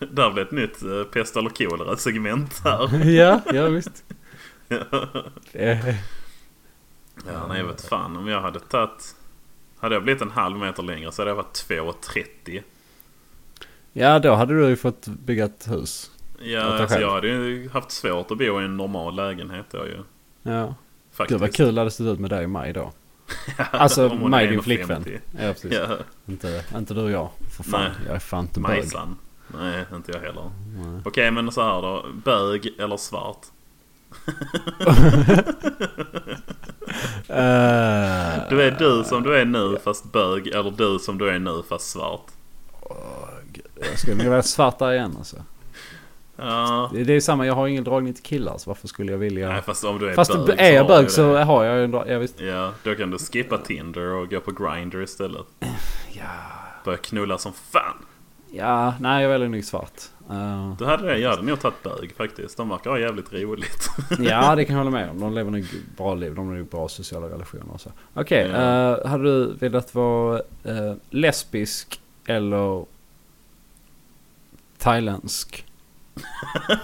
med. Där blev ett nytt eh, pest eller kolera segment här. Ja, ja visst. Det är- Ja, nej jag vet fan om jag hade tagit... Hade jag blivit en halv meter längre så hade jag varit 2,30. Ja, då hade du ju fått bygga ett hus. Ja, Åt dig alltså, själv. jag hade ju haft svårt att bo i en normal lägenhet då ju. Ja. Gud Faktiskt. vad kul det hade sett ut med dig och Maj då. Alltså Om hon Maj är din 1,50. flickvän. Ja, precis. Ja, Inte, inte du och jag. För fan, Nej. jag är fan inte bög. Majsan. Nej, inte jag heller. Nej. Okej, men så här då. Bög eller svart? Eh, Du är du som du är nu fast bög eller du som du är nu fast svart. Jag skulle vilja vara svart där igen alltså. Ja. Det det är samma, jag har ingen dragning till killar så varför skulle jag Nej, vilja... fast om du är Fast bög är jag har du bög så det. har jag ju en drag... Ja visst. Ja, då kan du skippa Tinder och gå på Grindr istället. Ja, Börja knulla som fan. ja nej jag väljer nog svart. Eh, Du hade det, jag hade nog tagit bög faktiskt. De verkar ha jävligt roligt. ja det kan jag hålla med om. De lever nog bra liv. De har nog bra sociala relationer och så. Okej, Ja. eh, hade du velat vara eh, lesbisk eller thailändsk?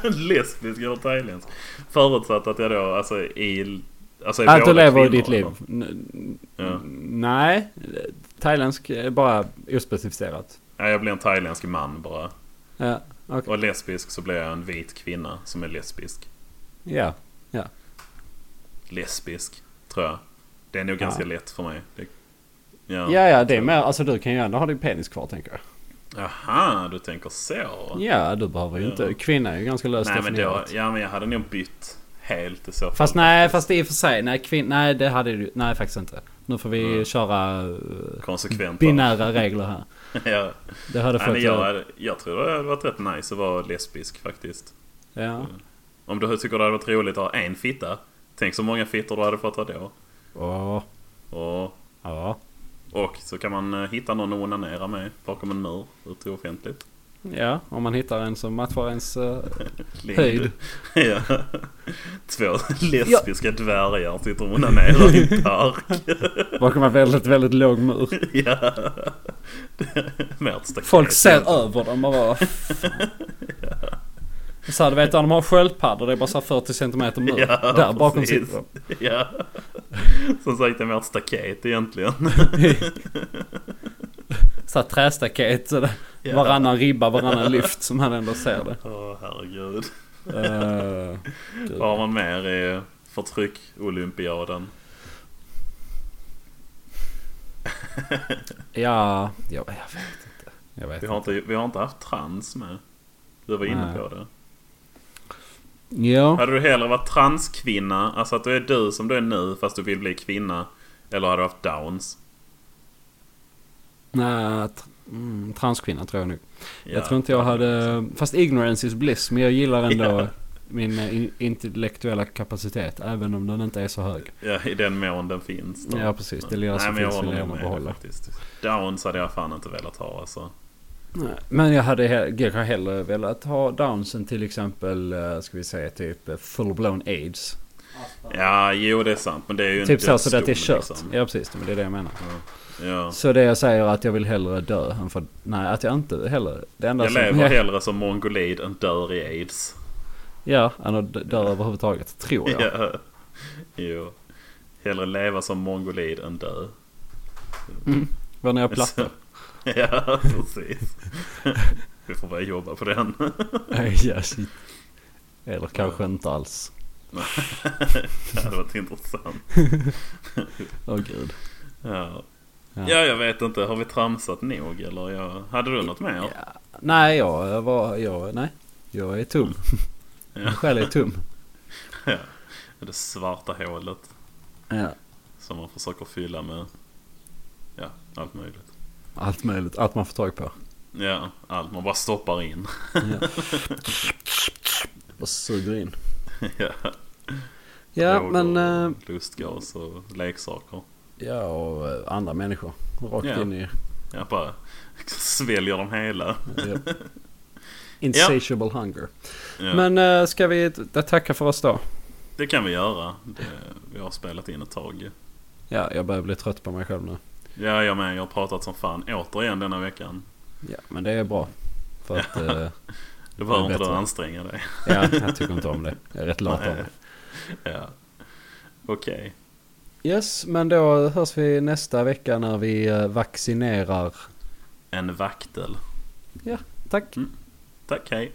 Lesbisk eller thailändsk. Förutsatt att jag då, alltså i... Alltså i Äh, Att du båda lever kvinnor, alltså. ditt liv? eller? N- Ja. Nej, thailändsk är bara ospecificerat. Ja, jag blir en thailändsk man bara. Ja, Och lesbisk så blir jag en vit kvinna som är lesbisk. ja. Lesbisk, tror jag. Det är nog ganska lätt för mig. Det, ja. Ja, ja, det är mer, alltså du kan ju ändå ha din penis kvar tänker jag. Aha, du tänker så. Ja, du behöver ju inte. Ja. Kvinna är ju ganska löst nej, men då, definierat. ja, men jag hade nog bytt helt i så fall. Fast nej, fast i och för sig, nej, kvin- nej det hade du, nej faktiskt inte. Nu får vi Mm. köra eh, Konsekvent. binära regler här. ja. Det hade Nej, men fått... jag, Ja, hade- jag tror det hade varit rätt nice att vara lesbisk faktiskt. ja. Mm. Om du tycker det hade varit roligt att ha en fitta. Tänk så många fittor du hade fått ha då. Åh, Och, ja. och så kan man eh, hitta någon att onanera med bakom en mur ute offentligt. Ja, om man hittar en som matchar ens... eh, Lind. Höjd. ja. Två lesbiska dvärgar sitter och onanerar i en park. bakom en väldigt, väldigt låg mur. ja. Mer ett staket. Folk ser över dem och bara "Vad fan?" Så här, du vet när de har sköldpaddor, det är bara så här 40 cm mur. Ja, Där bakom precis. sitter de. Ja. Som sagt, det är mer ett staket egentligen. Så här trästaket. Så där, Ja. Varannan ribba, varannan lyft som han ändå ser det. Åh herregud. Eh, Vad har man mer i förtryck-olympiaden? Ja, jag, jag vet inte. Jag vet Vi har inte, vi har inte haft trans med. Du var inne Nej. på det. inte. Ja, Hade du hellre varit transkvinna, alltså att du är du som du är nu fast du vill bli kvinna. Eller hade du haft downs? nej, tr- mm, transkvinna tror jag nog. Ja. Jag tror inte jag hade... Fast ignorance is bliss. Men jag gillar ändå Ja. min eh, in- intellektuella kapacitet. Även om den inte är så hög. Ja, i den mån den finns. Då. Ja, precis. Det Men- lilla Nej, som men jag finns vill håller jag nog gärna med dig behålla. faktiskt. Downs hade jag fan inte velat ha alltså. Nej, Men jag hade he- jag har hellre velat ha downsen till exempel, eh, ska vi säga typ eh, full-blown aids. Ja, jo det är sant. Men det är ju en Typ så, så att det är dödsdom, kört. Ja precis, men det är det jag menar. liksom. Ja. Så det jag säger är att jag vill hellre dö än för... Nej, att jag inte heller... Det enda Jag som, lever hellre som mongolid än dör i aids. Ja, än att dö dö överhuvudtaget, tror jag. Ja. Jo. Hellre leva som mongolid än dö. Vad när jag plattar. ja, precis. Vi får börja jobba på den. ja, shit. Eller kanske inte alls. det hade varit intressant. Åh gud. Ja. Ja. ja, jag vet inte. Har vi tramsat nog eller? Jag... Hade du något mer? Nej, jag var... Jag, nej. Jag är tom. Min själ är tom. Det svarta hålet Ja. som man försöker fylla med ja, allt möjligt. Allt möjligt. Allt man får tag på. Ja, allt man bara stoppar in. Ja. Och suger in. ja, Ja, droger, men... eh, Lustgas och leksaker. ja, och eh, andra människor. Rakt Ja. in i... Jag bara sväljer dem hela. ja. Insatiable hunger. Ja, Men eh, ska vi t- tacka för oss då? Det kan vi göra. Det, vi har spelat in ett tag. Ja, jag börjar bli trött på mig själv nu. Ja, jag med. Jag har pratat som fan återigen denna veckan. Ja, men det är bra. För att... eh, Du Det behöver är inte du bättre. anstränga dig. ja, jag tycker inte om det. Jag är rätt lat av Nej. mig. Ja. Okej. Yes, men då hörs vi nästa vecka när vi eh, vaccinerar. En vaktel. Tack. Tack, hej.